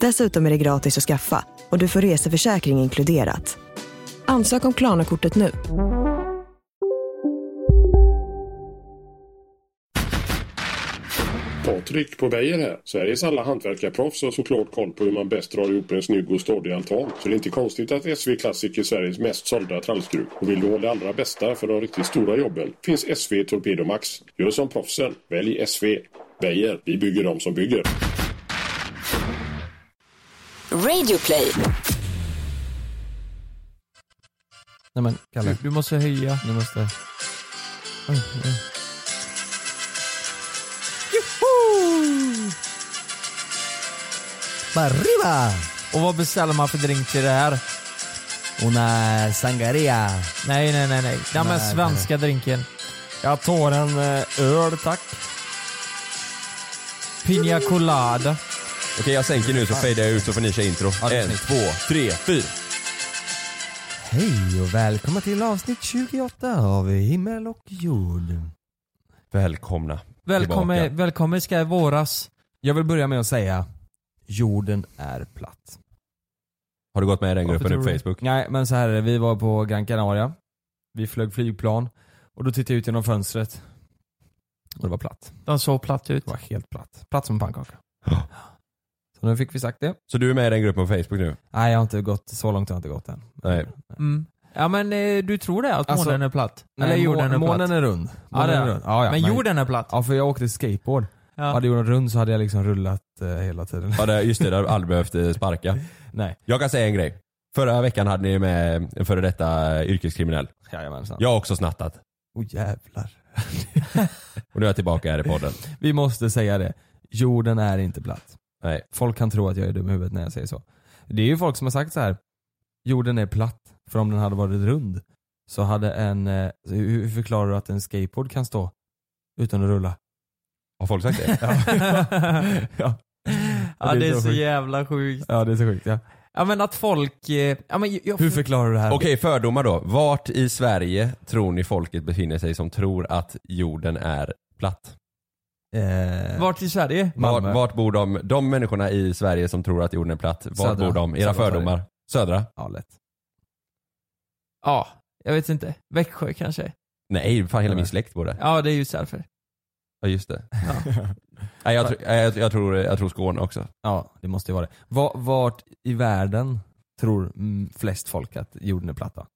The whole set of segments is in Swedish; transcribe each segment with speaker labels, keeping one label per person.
Speaker 1: Dessutom är det gratis att skaffa och du får reseförsäkring inkluderat. Ansök om Klarna-kortet nu.
Speaker 2: Patrik på Beijer här. Sveriges alla hantverkarproffs har såklart koll på hur man bäst drar ihop en snygg och stadig altan. Så det är inte konstigt att SV Classic är Sveriges mest sålda trallskruv. Och vill du ha det allra bästa för de riktigt stora jobben finns SV Torpedo Max. Gör som proffsen. Välj SV. Beijer. Vi bygger dem som bygger.
Speaker 3: Radioplay.
Speaker 4: Nej men,
Speaker 5: Kalle.
Speaker 4: du, du måste höja.
Speaker 5: Ni måste...
Speaker 4: Oj, oj.
Speaker 5: Arriba! Och vad beställer man för drink till det här? Una sangaria.
Speaker 4: Nej, nej, nej, nej. Den med
Speaker 5: Nej, nej.
Speaker 4: svenska drinken. Jag tar en eh, öl, tack. Pina colada.
Speaker 6: Okej, jag sänker nu så fejdar jag ut så får ni köra intro.
Speaker 5: det är
Speaker 6: En,
Speaker 5: snyggt.
Speaker 6: två, tre, fyra.
Speaker 5: Hej och välkomna till avsnitt 28 av Himmel och jord.
Speaker 6: Välkomna.
Speaker 4: Välkommen,
Speaker 6: Tillbaka.
Speaker 4: välkommen ska i våras.
Speaker 5: Jag vill börja med att säga, jorden är platt.
Speaker 6: Har du gått med i den
Speaker 4: Varför
Speaker 6: gruppen nu
Speaker 4: tror
Speaker 6: på
Speaker 4: du det?
Speaker 6: Facebook?
Speaker 4: Nej, men så här är det. Vi var på Gran Canaria. Vi flög flygplan. Och då tittade jag ut genom fönstret. Och det var platt.
Speaker 5: Den såg platt ut.
Speaker 4: Det var helt platt. Platt som en pannkaka.
Speaker 6: Ja.
Speaker 4: Så nu fick vi sagt det.
Speaker 6: Så du är med i den gruppen på Facebook nu?
Speaker 4: Nej, jag har inte gått. Så långt har jag inte gått än.
Speaker 6: Nej.
Speaker 4: Mm.
Speaker 5: Ja men eh, du tror det, att
Speaker 4: Alltså,
Speaker 5: månen är platt?
Speaker 4: Nej,
Speaker 5: Eller jorden
Speaker 4: månen,
Speaker 5: är platt?
Speaker 4: månen är rund.
Speaker 5: Ja,
Speaker 4: Månen
Speaker 5: det
Speaker 4: är
Speaker 5: är den.
Speaker 4: rund. Ja, ja,
Speaker 5: men
Speaker 4: nej.
Speaker 5: jorden är platt?
Speaker 4: Ja, för jag åkte skateboard.
Speaker 5: Ja.
Speaker 4: Hade jorden rund så hade jag liksom rullat eh, hela tiden.
Speaker 6: Ja, det, just det, där har du aldrig behövt eh, sparka.
Speaker 4: Nej.
Speaker 6: Jag kan säga en grej. Förra veckan hade ni med en före detta eh, yrkeskriminell.
Speaker 4: Jajamensan.
Speaker 6: Jag har också snattat.
Speaker 4: Åh jävlar.
Speaker 6: Och nu är jag tillbaka här i podden.
Speaker 4: Vi måste säga det. Jorden är inte platt.
Speaker 6: Nej.
Speaker 4: Folk kan tro att jag är dum i huvudet när jag säger så. Det är ju folk som har sagt så här. Jorden är platt. För om den hade varit rund så hade en... eh, Hur hur förklarar du att en skateboard kan stå utan att rulla?
Speaker 6: Har folk sagt det?
Speaker 4: ja.
Speaker 5: Ja det är så
Speaker 4: sjukt.
Speaker 5: jävla sjukt.
Speaker 4: Ja det är så sjukt ja.
Speaker 5: Ja men att folk... eh, Ja, men jag,
Speaker 4: Hur förklarar du det här?
Speaker 6: Okej, fördomar då. Vart i Sverige tror ni folket befinner sig som tror att jorden är platt?
Speaker 4: Eh,
Speaker 5: Vart i Sverige?
Speaker 6: Vart,
Speaker 4: Malmö.
Speaker 6: vart bor de, de människorna i Sverige som tror att jorden är platt, vart
Speaker 4: Södra.
Speaker 6: bor de?
Speaker 4: Södra
Speaker 6: Era fördomar? Södra?
Speaker 4: Ja, lätt.
Speaker 5: Ja, jag vet inte. Växjö kanske?
Speaker 6: Nej, fan hela
Speaker 4: Nej.
Speaker 6: min släkt bor där.
Speaker 5: Ja det är ju därför.
Speaker 6: Ja just det. Nej, jag, tr- nej, jag, jag, tror, jag tror Skåne också.
Speaker 4: Ja, det måste ju vara det. Va- Vart i världen tror mm, flest folk att jorden är platta?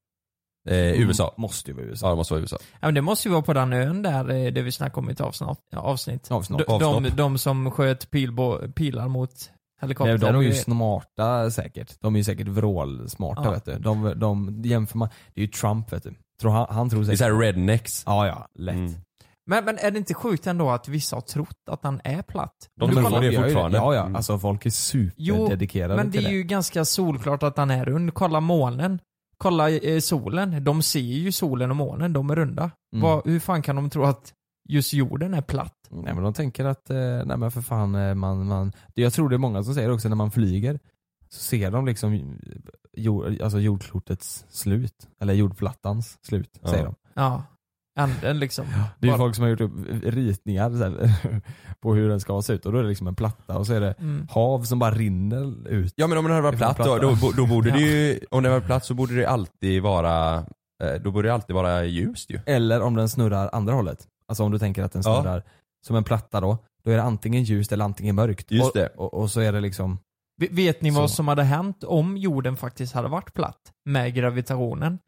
Speaker 6: Eh, USA.
Speaker 4: M- Måste ju vara USA.
Speaker 6: Ja det måste vara USA.
Speaker 5: Ja men det måste ju vara på den ön där, eh, det vi snackade om i ett avsnitt. avsnitt.
Speaker 4: Avsnopp.
Speaker 5: De, de,
Speaker 6: Avsnopp.
Speaker 5: de som sköt pilbo, pilar mot
Speaker 4: Nej,
Speaker 5: helikopter
Speaker 4: de är
Speaker 5: och
Speaker 4: ju
Speaker 5: grejer.
Speaker 4: smarta säkert. De är ju säkert vrålsmarta
Speaker 5: Ja.
Speaker 4: vet du. De, de jämför man, det är ju Trump vet du. Tror han, han tror
Speaker 6: Det är
Speaker 4: säkert...
Speaker 6: såhär rednecks.
Speaker 4: Ja, ja, lätt.
Speaker 6: Mm.
Speaker 5: Men, men är det inte sjukt ändå att vissa har trott att den är platt?
Speaker 6: De
Speaker 5: Du
Speaker 6: tror
Speaker 5: kollar-
Speaker 6: det
Speaker 4: vi gör ju
Speaker 6: fortfarande.
Speaker 4: Ja, ja.
Speaker 6: Mm.
Speaker 4: Alltså folk är superdedikerade
Speaker 5: men det
Speaker 4: till
Speaker 5: är ju ganska solklart att den är rund. Kolla månen. Kolla eh, solen. De ser ju solen och månen, de är runda.
Speaker 4: Mm.
Speaker 5: Vad- hur fan kan de tro att just jorden är platt?
Speaker 4: Nej men de tänker att, eh, nej men för fan, eh, man, man, det- jag tror det är många som säger också när man flyger, så ser de liksom jord, alltså jordklotets slut, eller jordplattans slut,
Speaker 6: Ja.
Speaker 4: säger de.
Speaker 5: Ja. Änden liksom.
Speaker 4: Det är ju
Speaker 5: Bara-
Speaker 4: folk som har gjort upp ritningar så här, på hur den ska se ut och då är det liksom en platta och så är det
Speaker 5: Mm.
Speaker 4: hav som bara rinner ut.
Speaker 6: Ja men om den hade varit
Speaker 4: Det är
Speaker 6: platt då,
Speaker 4: platt,
Speaker 6: då,
Speaker 4: va?
Speaker 6: bo- då borde det ju, om den var platt så borde det alltid vara, eh, då borde det alltid vara ljust ju.
Speaker 4: Eller om den snurrar andra hållet. Alltså om du tänker att den
Speaker 6: Ja.
Speaker 4: snurrar som en platta då, då är det antingen ljust eller antingen mörkt.
Speaker 6: Just
Speaker 4: och,
Speaker 6: det.
Speaker 4: Och, och så är det liksom,
Speaker 5: Ve- Vet ni vad
Speaker 4: Så.
Speaker 5: som hade hänt om jorden faktiskt hade varit platt med gravitationen?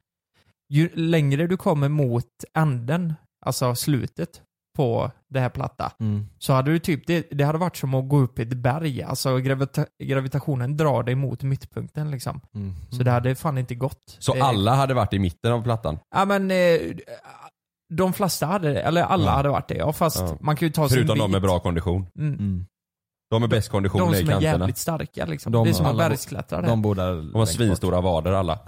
Speaker 5: Ju längre du kommer mot änden, alltså slutet på det här platta
Speaker 4: Mm.
Speaker 5: så hade du typ, det, det hade varit som att gå upp i ett berg. Alltså gravita gravitationen drar dig mot mittpunkten liksom.
Speaker 4: Mm.
Speaker 5: Så det hade fan inte gått.
Speaker 6: Så
Speaker 5: det,
Speaker 6: alla hade varit i mitten av plattan?
Speaker 5: Ja men, eh, de flesta hade det. Eller alla
Speaker 6: Ja.
Speaker 5: hade varit det. Ja fast
Speaker 6: Ja.
Speaker 5: man kan ju ta
Speaker 6: Förutom
Speaker 5: sin
Speaker 6: de
Speaker 5: bit.
Speaker 6: med bra kondition.
Speaker 5: Mm.
Speaker 4: Mm.
Speaker 6: De med bäst kondition
Speaker 5: De
Speaker 6: är i
Speaker 5: som är
Speaker 6: kanterna.
Speaker 5: jävligt starka liksom.
Speaker 4: De-
Speaker 5: det är som att
Speaker 4: alla-
Speaker 5: bergsklättra det.
Speaker 4: De bor där längst
Speaker 6: De har
Speaker 4: bort.
Speaker 6: svinstora vader alla.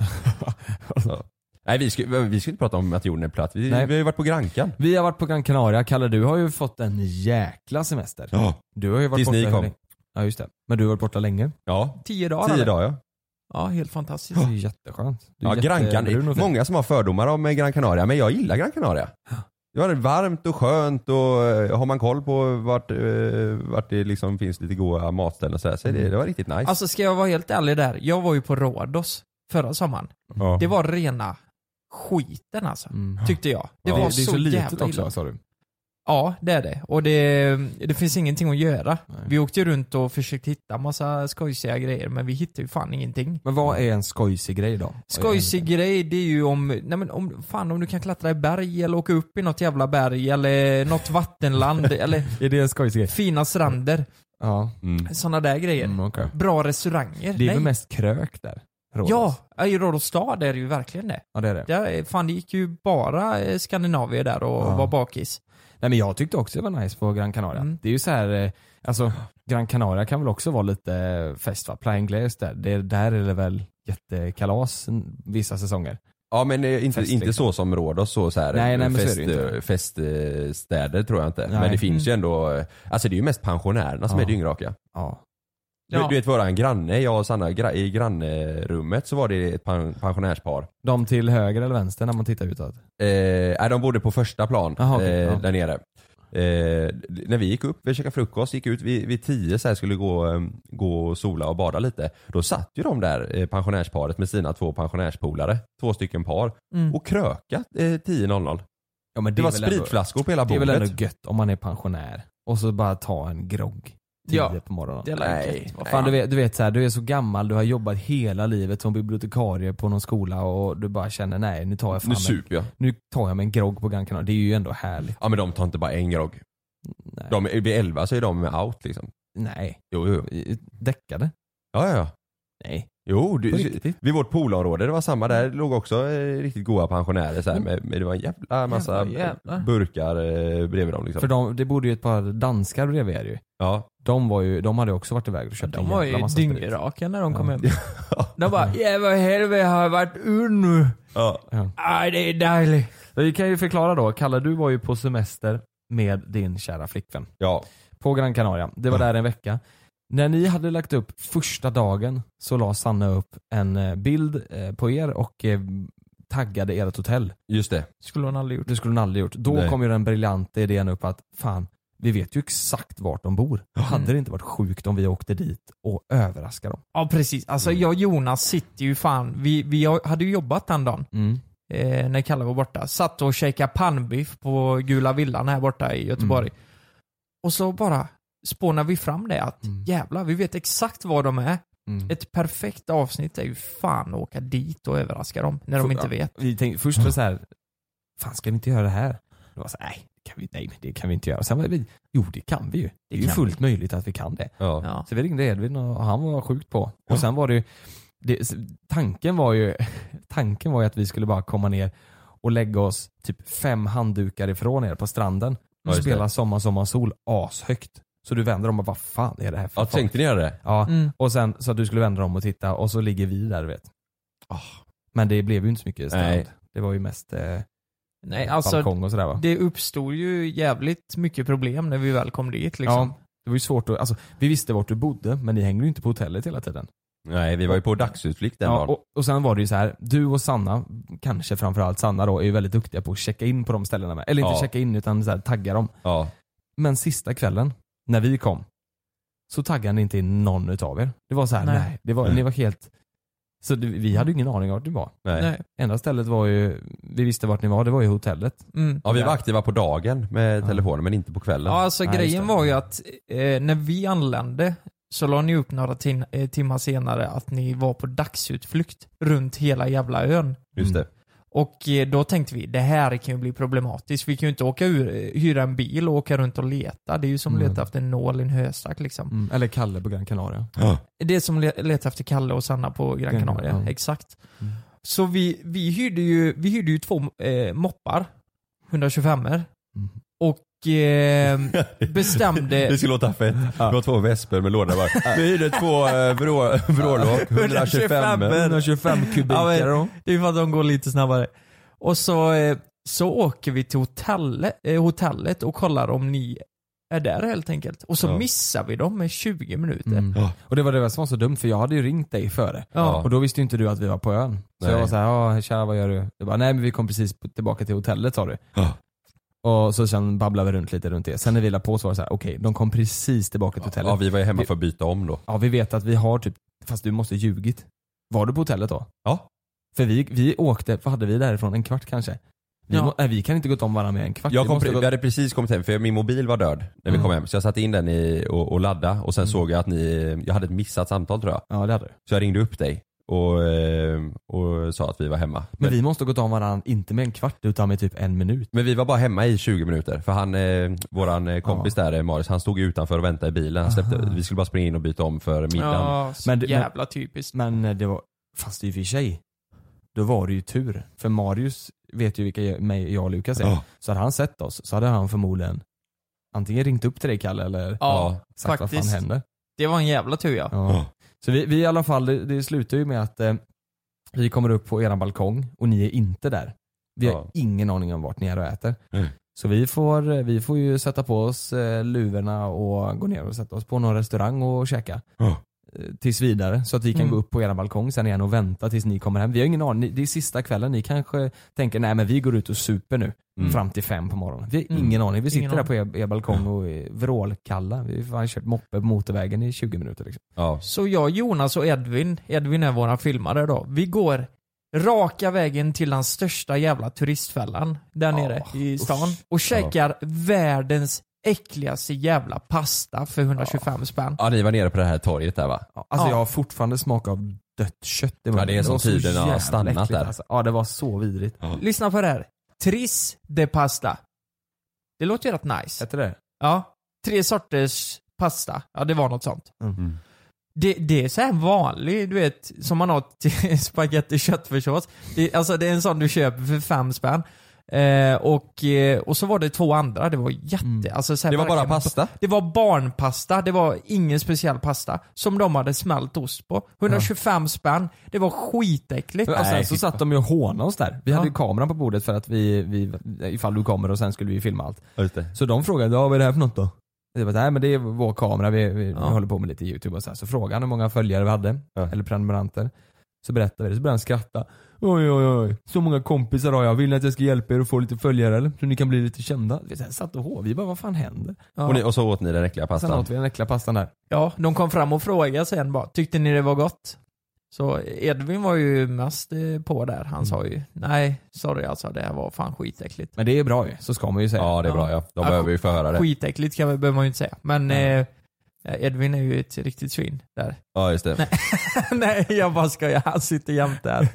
Speaker 6: Ja. Nej vi ska, vi ska inte prata om att jorden är platt. Vi,
Speaker 4: Nej.
Speaker 6: vi har ju varit på Grankan.
Speaker 4: Vi har varit på Gran Canaria, Kalle du har ju fått en jäkla semester.
Speaker 6: Ja.
Speaker 4: Du har ju varit
Speaker 6: Tills
Speaker 4: borta
Speaker 6: ni
Speaker 4: hur
Speaker 6: kom.
Speaker 4: länge? Ja just det. Men du har varit borta länge.
Speaker 6: Ja.
Speaker 5: Tio dagar
Speaker 6: Tio
Speaker 5: eller?
Speaker 6: dagar ja.
Speaker 5: Ja, helt fantastiskt.
Speaker 4: Det är ju jätteskönt. Du är
Speaker 6: ja Grankan,
Speaker 4: jättebrun och fin.
Speaker 6: många som har fördomar om eh, Gran Canaria men jag gillar Gran Canaria. Det är varmt och skönt och eh, har man koll på vart, eh, vart det liksom finns lite goda matställen och sådär, så är det, det var riktigt nice.
Speaker 5: Alltså ska jag vara helt ärlig där, jag var ju på Rhodos förra sommaren.
Speaker 6: ja.
Speaker 5: Det var rena skiten alltså.
Speaker 4: Mm.
Speaker 5: Tyckte jag. Det
Speaker 4: Ja.
Speaker 5: var
Speaker 4: det är
Speaker 5: så,
Speaker 4: så litet
Speaker 5: jävla illa.
Speaker 4: också sa du.
Speaker 5: Ja, det är det. Och det, det finns ingenting att göra.
Speaker 4: Nej.
Speaker 5: Vi åkte ju runt och försökte hitta massa skojsiga grejer, men vi hittade ju fan ingenting.
Speaker 4: Men vad är en skojsig grej då?
Speaker 5: Skojsig grej, det är ju om, nej men om, fan om du kan klättra i berg eller åka upp i något jävla berg eller något vattenland eller
Speaker 4: Är det en skojsig grej?
Speaker 5: fina stränder.
Speaker 4: Ja.
Speaker 6: Mm.
Speaker 5: Sådana där grejer.
Speaker 4: Mm, okej.
Speaker 5: Bra restauranger.
Speaker 4: Det är
Speaker 5: nej.
Speaker 4: väl mest krök där? Rhodos?
Speaker 5: Ja, i Rhodos stad är det ju verkligen det.
Speaker 4: Ja det är det.
Speaker 5: Där, är- fan, det gick ju bara eh, Skandinavier där och
Speaker 4: Ja.
Speaker 5: var bakis.
Speaker 4: Nej men jag tyckte också det var nice på Gran Canaria.
Speaker 5: Mm.
Speaker 4: Det är ju så här, eh, alltså Gran Canaria kan väl också vara lite eh, fest va? Plain Glaze där. Det, där är det väl jättekalas n- vissa säsonger.
Speaker 6: Ja men eh, inte,
Speaker 4: Fest,
Speaker 6: inte
Speaker 4: liksom.
Speaker 6: så som Rhodos så, så här,
Speaker 4: Nej, nej, men så är
Speaker 6: fest,
Speaker 4: det ju inte.
Speaker 6: eh, feststäder tror jag inte.
Speaker 4: Nej.
Speaker 6: Men det finns
Speaker 5: Mm.
Speaker 6: ju ändå, eh, alltså det är ju mest pensionärerna som
Speaker 4: Ja.
Speaker 6: är dyngraka.
Speaker 4: Ja.
Speaker 6: Du,
Speaker 5: Ja.
Speaker 6: du vet våran granne, jag och Sanna, gra- i grannrummet så var det ett pen- pensionärspar.
Speaker 4: De till höger eller vänster när man tittar utåt?
Speaker 6: Eh, nej, de bodde på första plan
Speaker 4: Aha, okej,
Speaker 6: eh,
Speaker 4: ja.
Speaker 6: där nere. Eh, d- när vi gick upp, vi käkade frukost, gick ut vid, vid tio så här skulle gå, eh, gå och sola och bada lite. Då satt ju de där eh, pensionärsparet med sina två pensionärspolare, två stycken par,
Speaker 5: Mm.
Speaker 6: och krökat eh, 10.00. Det,
Speaker 4: Ja, men
Speaker 6: var
Speaker 4: är väl ändå-
Speaker 6: spritflaskor på hela
Speaker 4: Det är
Speaker 6: bordet.
Speaker 4: väl ändå gött om man är pensionär och så bara ta en grogg tio
Speaker 5: Ja.
Speaker 4: på morgonen.
Speaker 5: Det är
Speaker 6: Nej,
Speaker 5: läget. Vad
Speaker 4: Fan,
Speaker 5: fan
Speaker 4: du vet, du vet så här, du är så gammal, du har jobbat hela livet som bibliotekarie på någon skola och du bara känner nej nu tar jag fan
Speaker 6: nu
Speaker 4: en,
Speaker 6: super jag.
Speaker 4: nu tar jag mig en grogg på Gran Canaria. Det är ju ändå härligt.
Speaker 6: Ja men de tar inte bara en grogg.
Speaker 4: Nej.
Speaker 6: De, vid elva så är de out liksom.
Speaker 4: nej.
Speaker 6: Jo, jo.
Speaker 4: I- Däckade?
Speaker 6: Ja, ja, ja.
Speaker 4: Nej.
Speaker 6: Jo,
Speaker 4: På
Speaker 6: du,
Speaker 4: riktigt?
Speaker 6: vid vårt poolområde, det var samma där, låg också eh, riktigt goda pensionärer så här, med, med, det var en jävla massa eh,
Speaker 5: Jävlar, jävlar.
Speaker 6: burkar eh, bredvid dem liksom.
Speaker 4: För de, det bodde ju ett par danskar bredvid er ju.
Speaker 6: Ja.
Speaker 4: De, var ju, de hade ju också varit iväg och köpt
Speaker 5: De var ju dyngraka när de kom
Speaker 4: Ja.
Speaker 5: hem. De bara ja vad helvete har jag varit ur nu?
Speaker 6: Ja.
Speaker 5: Aj det är dejligt.
Speaker 4: Vi kan ju förklara då, Kalle du var ju på semester med din kära flickvän.
Speaker 6: ja.
Speaker 4: på Gran Canaria. Det var där en vecka. När ni hade lagt upp första dagen så la Sanna upp en eh, bild eh, på er och eh, taggade ert hotell.
Speaker 6: Just det.
Speaker 5: Skulle hon aldrig gjort.
Speaker 4: Det skulle hon aldrig gjort. Då
Speaker 6: Nej.
Speaker 4: kom ju den briljanta idén upp att fan, vi vet ju exakt vart de bor. Hade det inte varit sjukt om vi åkte dit och överraskade dem? Mm.
Speaker 5: Ja precis. Alltså jag och Jonas sitter ju fan, vi, vi hade ju jobbat den dagen.
Speaker 6: Mm.
Speaker 5: eh, när Kalle var borta. Satt och käkade pannbiff på Gula Villan här borta i Göteborg. Och så bara spånar vi fram det att
Speaker 4: Mm.
Speaker 5: jävlar, vi vet exakt var de är.
Speaker 4: Mm.
Speaker 5: Ett perfekt avsnitt är ju fan att åka dit och överraska dem när de
Speaker 4: För-
Speaker 5: inte
Speaker 4: ja,
Speaker 5: vet.
Speaker 4: Vi tänkte, först var det så här, fan ska vi inte göra det här? Det var så här, nej, det kan vi, nej men det kan vi inte göra. Sen var vi, jo det kan vi ju. Det är ju
Speaker 5: kan
Speaker 4: fullt möjligt att vi kan det.
Speaker 6: Ja.
Speaker 5: Ja.
Speaker 4: Så vi ringde Edvin och han var sjukt på. Och sen var det ju, det, s- tanken var ju, tanken var ju att vi skulle bara komma ner och lägga oss typ fem handdukar ifrån er på stranden.
Speaker 6: Ja,
Speaker 4: Och
Speaker 6: just det.
Speaker 4: spela Sommar, sommar, sol ashögt. Så du vänder om och vad fan är det här för
Speaker 6: ja,
Speaker 4: folk?
Speaker 6: tänkte ni göra det?
Speaker 4: Ja,
Speaker 5: Mm.
Speaker 4: och sen så att du skulle vända om och titta och så ligger vi där du vet.
Speaker 5: Ah.
Speaker 4: Men det blev ju inte så mycket strand.
Speaker 6: Nej.
Speaker 4: Det var ju mest eh,
Speaker 5: Nej, alltså
Speaker 4: balkong och sådär va?
Speaker 5: det uppstod ju jävligt mycket problem när vi väl kom dit liksom.
Speaker 4: Ja, det var ju svårt att, alltså vi visste vart du bodde men ni hängde ju inte på hotellet hela tiden.
Speaker 6: Nej, vi var ju på dagsutflykt den
Speaker 4: Ja,
Speaker 6: dagen.
Speaker 4: och, och sen var det ju så här, du och Sanna, kanske framförallt Sanna då, är ju väldigt duktiga på att checka in på de ställena med. Eller inte
Speaker 6: Ja.
Speaker 4: checka in utan så här, tagga dem.
Speaker 6: Ja.
Speaker 4: Men sista kvällen, när vi kom, så taggade ni inte in någon utav er. Det var så här, nej,
Speaker 5: Nej.
Speaker 4: det var,
Speaker 6: Nej.
Speaker 4: ni var helt... Så det, vi hade ju ingen aning om vart ni var.
Speaker 6: Nej.
Speaker 5: Nej.
Speaker 4: Enda stället var ju, vi visste vart ni var, det var ju hotellet.
Speaker 5: Mm.
Speaker 6: ja, vi var
Speaker 4: Ja.
Speaker 6: aktiva på dagen med
Speaker 4: Ja.
Speaker 6: telefonen men inte på kvällen.
Speaker 5: Ja, alltså
Speaker 4: Nej, just
Speaker 5: grejen
Speaker 4: det.
Speaker 5: var ju att eh, när vi anlände så la ni upp några tin- eh, timmar senare att ni var på dagsutflykt runt hela jävla ön.
Speaker 4: Mm.
Speaker 6: Just det.
Speaker 5: Och eh, då tänkte vi, det här kan ju bli problematiskt. Vi kan ju inte åka ur, eh, hyra en bil och åka runt och leta. Det är ju som att
Speaker 4: Mm.
Speaker 5: leta efter en nål i en höstack liksom.
Speaker 4: Mm. Eller Kalle på Gran Canaria.
Speaker 5: Det är som le- leta efter Kalle och Sanna på Gran
Speaker 4: Gran
Speaker 5: Canaria.
Speaker 4: Canaria, ja. Mm.
Speaker 5: Exakt. Så vi, vi, hyrde ju, vi hyrde ju två eh, moppar, 125 er
Speaker 4: Mm.
Speaker 5: och eh,
Speaker 6: Det
Speaker 5: bestämde...
Speaker 6: skulle låta fett. Vi har två vesper med låda bara. Vi hyrde två eh, vrå- vrålåk, 125.
Speaker 4: 125
Speaker 5: Ja, men-
Speaker 4: kubikare då.
Speaker 5: Det är för att de går lite snabbare. Och så, eh, så åker vi till hotelle, eh, hotellet och kollar om ni är där helt enkelt. Och så
Speaker 6: Ja.
Speaker 5: missar vi dem med 20 minuter.
Speaker 4: Mm.
Speaker 6: Ja.
Speaker 4: Och det var det som var så dumt för jag hade ju ringt dig före.
Speaker 5: Ja.
Speaker 4: Och då visste ju inte du att vi var på ön. Så
Speaker 6: Nej.
Speaker 4: jag var såhär, ja tja vad gör du? Jag bara, nej men vi kom precis på- tillbaka till hotellet sa du.
Speaker 6: Ja.
Speaker 4: Och så sen babblade vi runt lite runt det. Sen när vi la på så var det såhär, okej de kom precis tillbaka till hotellet.
Speaker 6: Ja, vi var ju hemma för att byta om då.
Speaker 4: Ja vi vet att vi har typ, fast du måste ljugit. Var du på hotellet då?
Speaker 6: Ja.
Speaker 4: För vi, vi åkte, vad hade vi därifrån? En kvart kanske? Vi,
Speaker 5: Ja.
Speaker 4: må, nej, vi kan inte gått om varandra med en kvart.
Speaker 6: Jag
Speaker 4: Vi
Speaker 6: kom,
Speaker 4: måste
Speaker 6: pre-
Speaker 4: gått-
Speaker 6: vi hade precis kommit hem för min mobil var död när vi kom hem. Så jag satte in den i, och, och laddade och sen såg jag att ni, jag hade ett missat samtal tror jag.
Speaker 4: Ja det hade du.
Speaker 6: Så jag ringde upp dig och, eh, och sa att vi var hemma.
Speaker 4: Men vi måste gått om varandra, inte med en kvart utan med typ en minut.
Speaker 6: Men vi var bara hemma i 20 minuter för han, eh, våran eh, kompis där, eh, Marius, han stod ju utanför och väntade i bilen. Han släppte, vi skulle bara springa in och byta om för middagen.
Speaker 5: Ja, så
Speaker 4: Men- men-
Speaker 5: jävla typiskt.
Speaker 4: Men eh, det var, fast i och för sig, då var det ju tur. För Marius vet ju vilka jag, mig, jag och Lukas är.
Speaker 6: Alltså, Ja.
Speaker 4: Så hade han sett oss så hade han förmodligen antingen ringt upp till dig Kalle eller
Speaker 5: Ja,
Speaker 4: sagt vad
Speaker 5: faktiskt.
Speaker 4: fan händer.
Speaker 5: Det var en jävla tur ja.
Speaker 4: Ja.
Speaker 6: Ja.
Speaker 4: Så vi, vi i alla fall, det, det slutar ju med att eh, vi kommer upp på eran balkong och ni är inte där. Vi har
Speaker 6: Ja.
Speaker 4: ingen aning om vart ni är och äter.
Speaker 6: Mm.
Speaker 4: Så vi får, eh, vi får ju sätta på oss eh, luvorna och gå ner och sätta oss på någon restaurang och käka.
Speaker 6: Ja.
Speaker 4: Eh, Tills vidare, så att vi kan
Speaker 5: Mm.
Speaker 4: gå upp på eran balkong sen igen och vänta tills ni kommer hem. Vi har ingen aning, Ni- det är sista kvällen, ni kanske tänker nej men vi går ut och super nu
Speaker 6: Mm.
Speaker 4: fram till fem på morgonen. Vi har
Speaker 5: Mm.
Speaker 4: ingen aning, vi sitter
Speaker 5: Ingen
Speaker 4: där på er, er balkong och är vrålkalla. Vi har fan kört moppe på motorvägen i 20 minuter liksom.
Speaker 6: Ja.
Speaker 5: Så jag, Jonas och Edvin, Edvin är våran filmare då, vi går raka vägen till den största jävla turistfällan där nere i stan och käkar världens äckligaste jävla pasta för 125 spänn.
Speaker 6: ja, ni var nere på det här torget där va?
Speaker 4: Alltså
Speaker 5: Ja.
Speaker 4: jag har fortfarande smak av dött kött i munnen.
Speaker 6: Ja, det är som
Speaker 4: var så
Speaker 6: tiden har
Speaker 4: jävla
Speaker 6: stannat
Speaker 4: äckligt,
Speaker 6: där.
Speaker 4: Alltså. Ja det var så vidrigt.
Speaker 5: Lyssna på det här. Tris de pasta. Det låter ju rätt nice.
Speaker 4: Hette det?
Speaker 5: Ja. Tre sorters pasta. Ja, det var något sånt.
Speaker 4: Mm.
Speaker 5: Det, det är så här vanlig, du vet, som man har till spagetti köttfärssås. Det, alltså det är en sån du köper för fem spänn. Eh, och, eh, och så var det två andra, det var jätte...
Speaker 4: Mm.
Speaker 5: Alltså så här
Speaker 6: Det var bara
Speaker 5: verkligen-
Speaker 6: pasta?
Speaker 5: Det var barnpasta, det var ingen speciell pasta. Som de hade smält ost på. 125 spänn, det var skitäckligt.
Speaker 4: Och sen så satt de ju och hånade oss där. Vi hade ju
Speaker 5: Ja.
Speaker 4: kameran på bordet för att vi, vi, ifall du kommer och sen skulle vi filma allt.
Speaker 6: Ja, just det.
Speaker 4: Så de frågade, ja vad är det här för något då? Jag bara, nej men det är vår kamera, vi, vi, vi håller på med lite youtube och så här. Så frågade han hur många följare vi hade, eller prenumeranter. Så berättade vi det, så började han skratta. Oj oj oj, så många kompisar har jag, vill ni att jag ska hjälpa er att få lite följare eller? Så ni kan bli lite kända. Vi så här satt och hå, vi bara vad fan händer?
Speaker 6: Och, ni, och så åt ni den äckliga
Speaker 4: Sen
Speaker 6: pastan.
Speaker 4: åt vi den äckliga pastan där.
Speaker 5: Ja, de kom fram och frågade sen bara, tyckte ni det var gott? Så Edvin var ju mest eh, på där, han sa ju nej, sorry alltså det här var fan skitäckligt.
Speaker 4: Men det är bra ju, så ska man ju säga.
Speaker 6: Ja det är bra ja. De behöver ju få höra det.
Speaker 5: Skitäckligt kan, vi- behöver man ju inte säga, men eh, Edvin är ju ett riktigt svin där.
Speaker 6: Ja just det.
Speaker 5: nej, jag bara skojar, han sitter jämt där.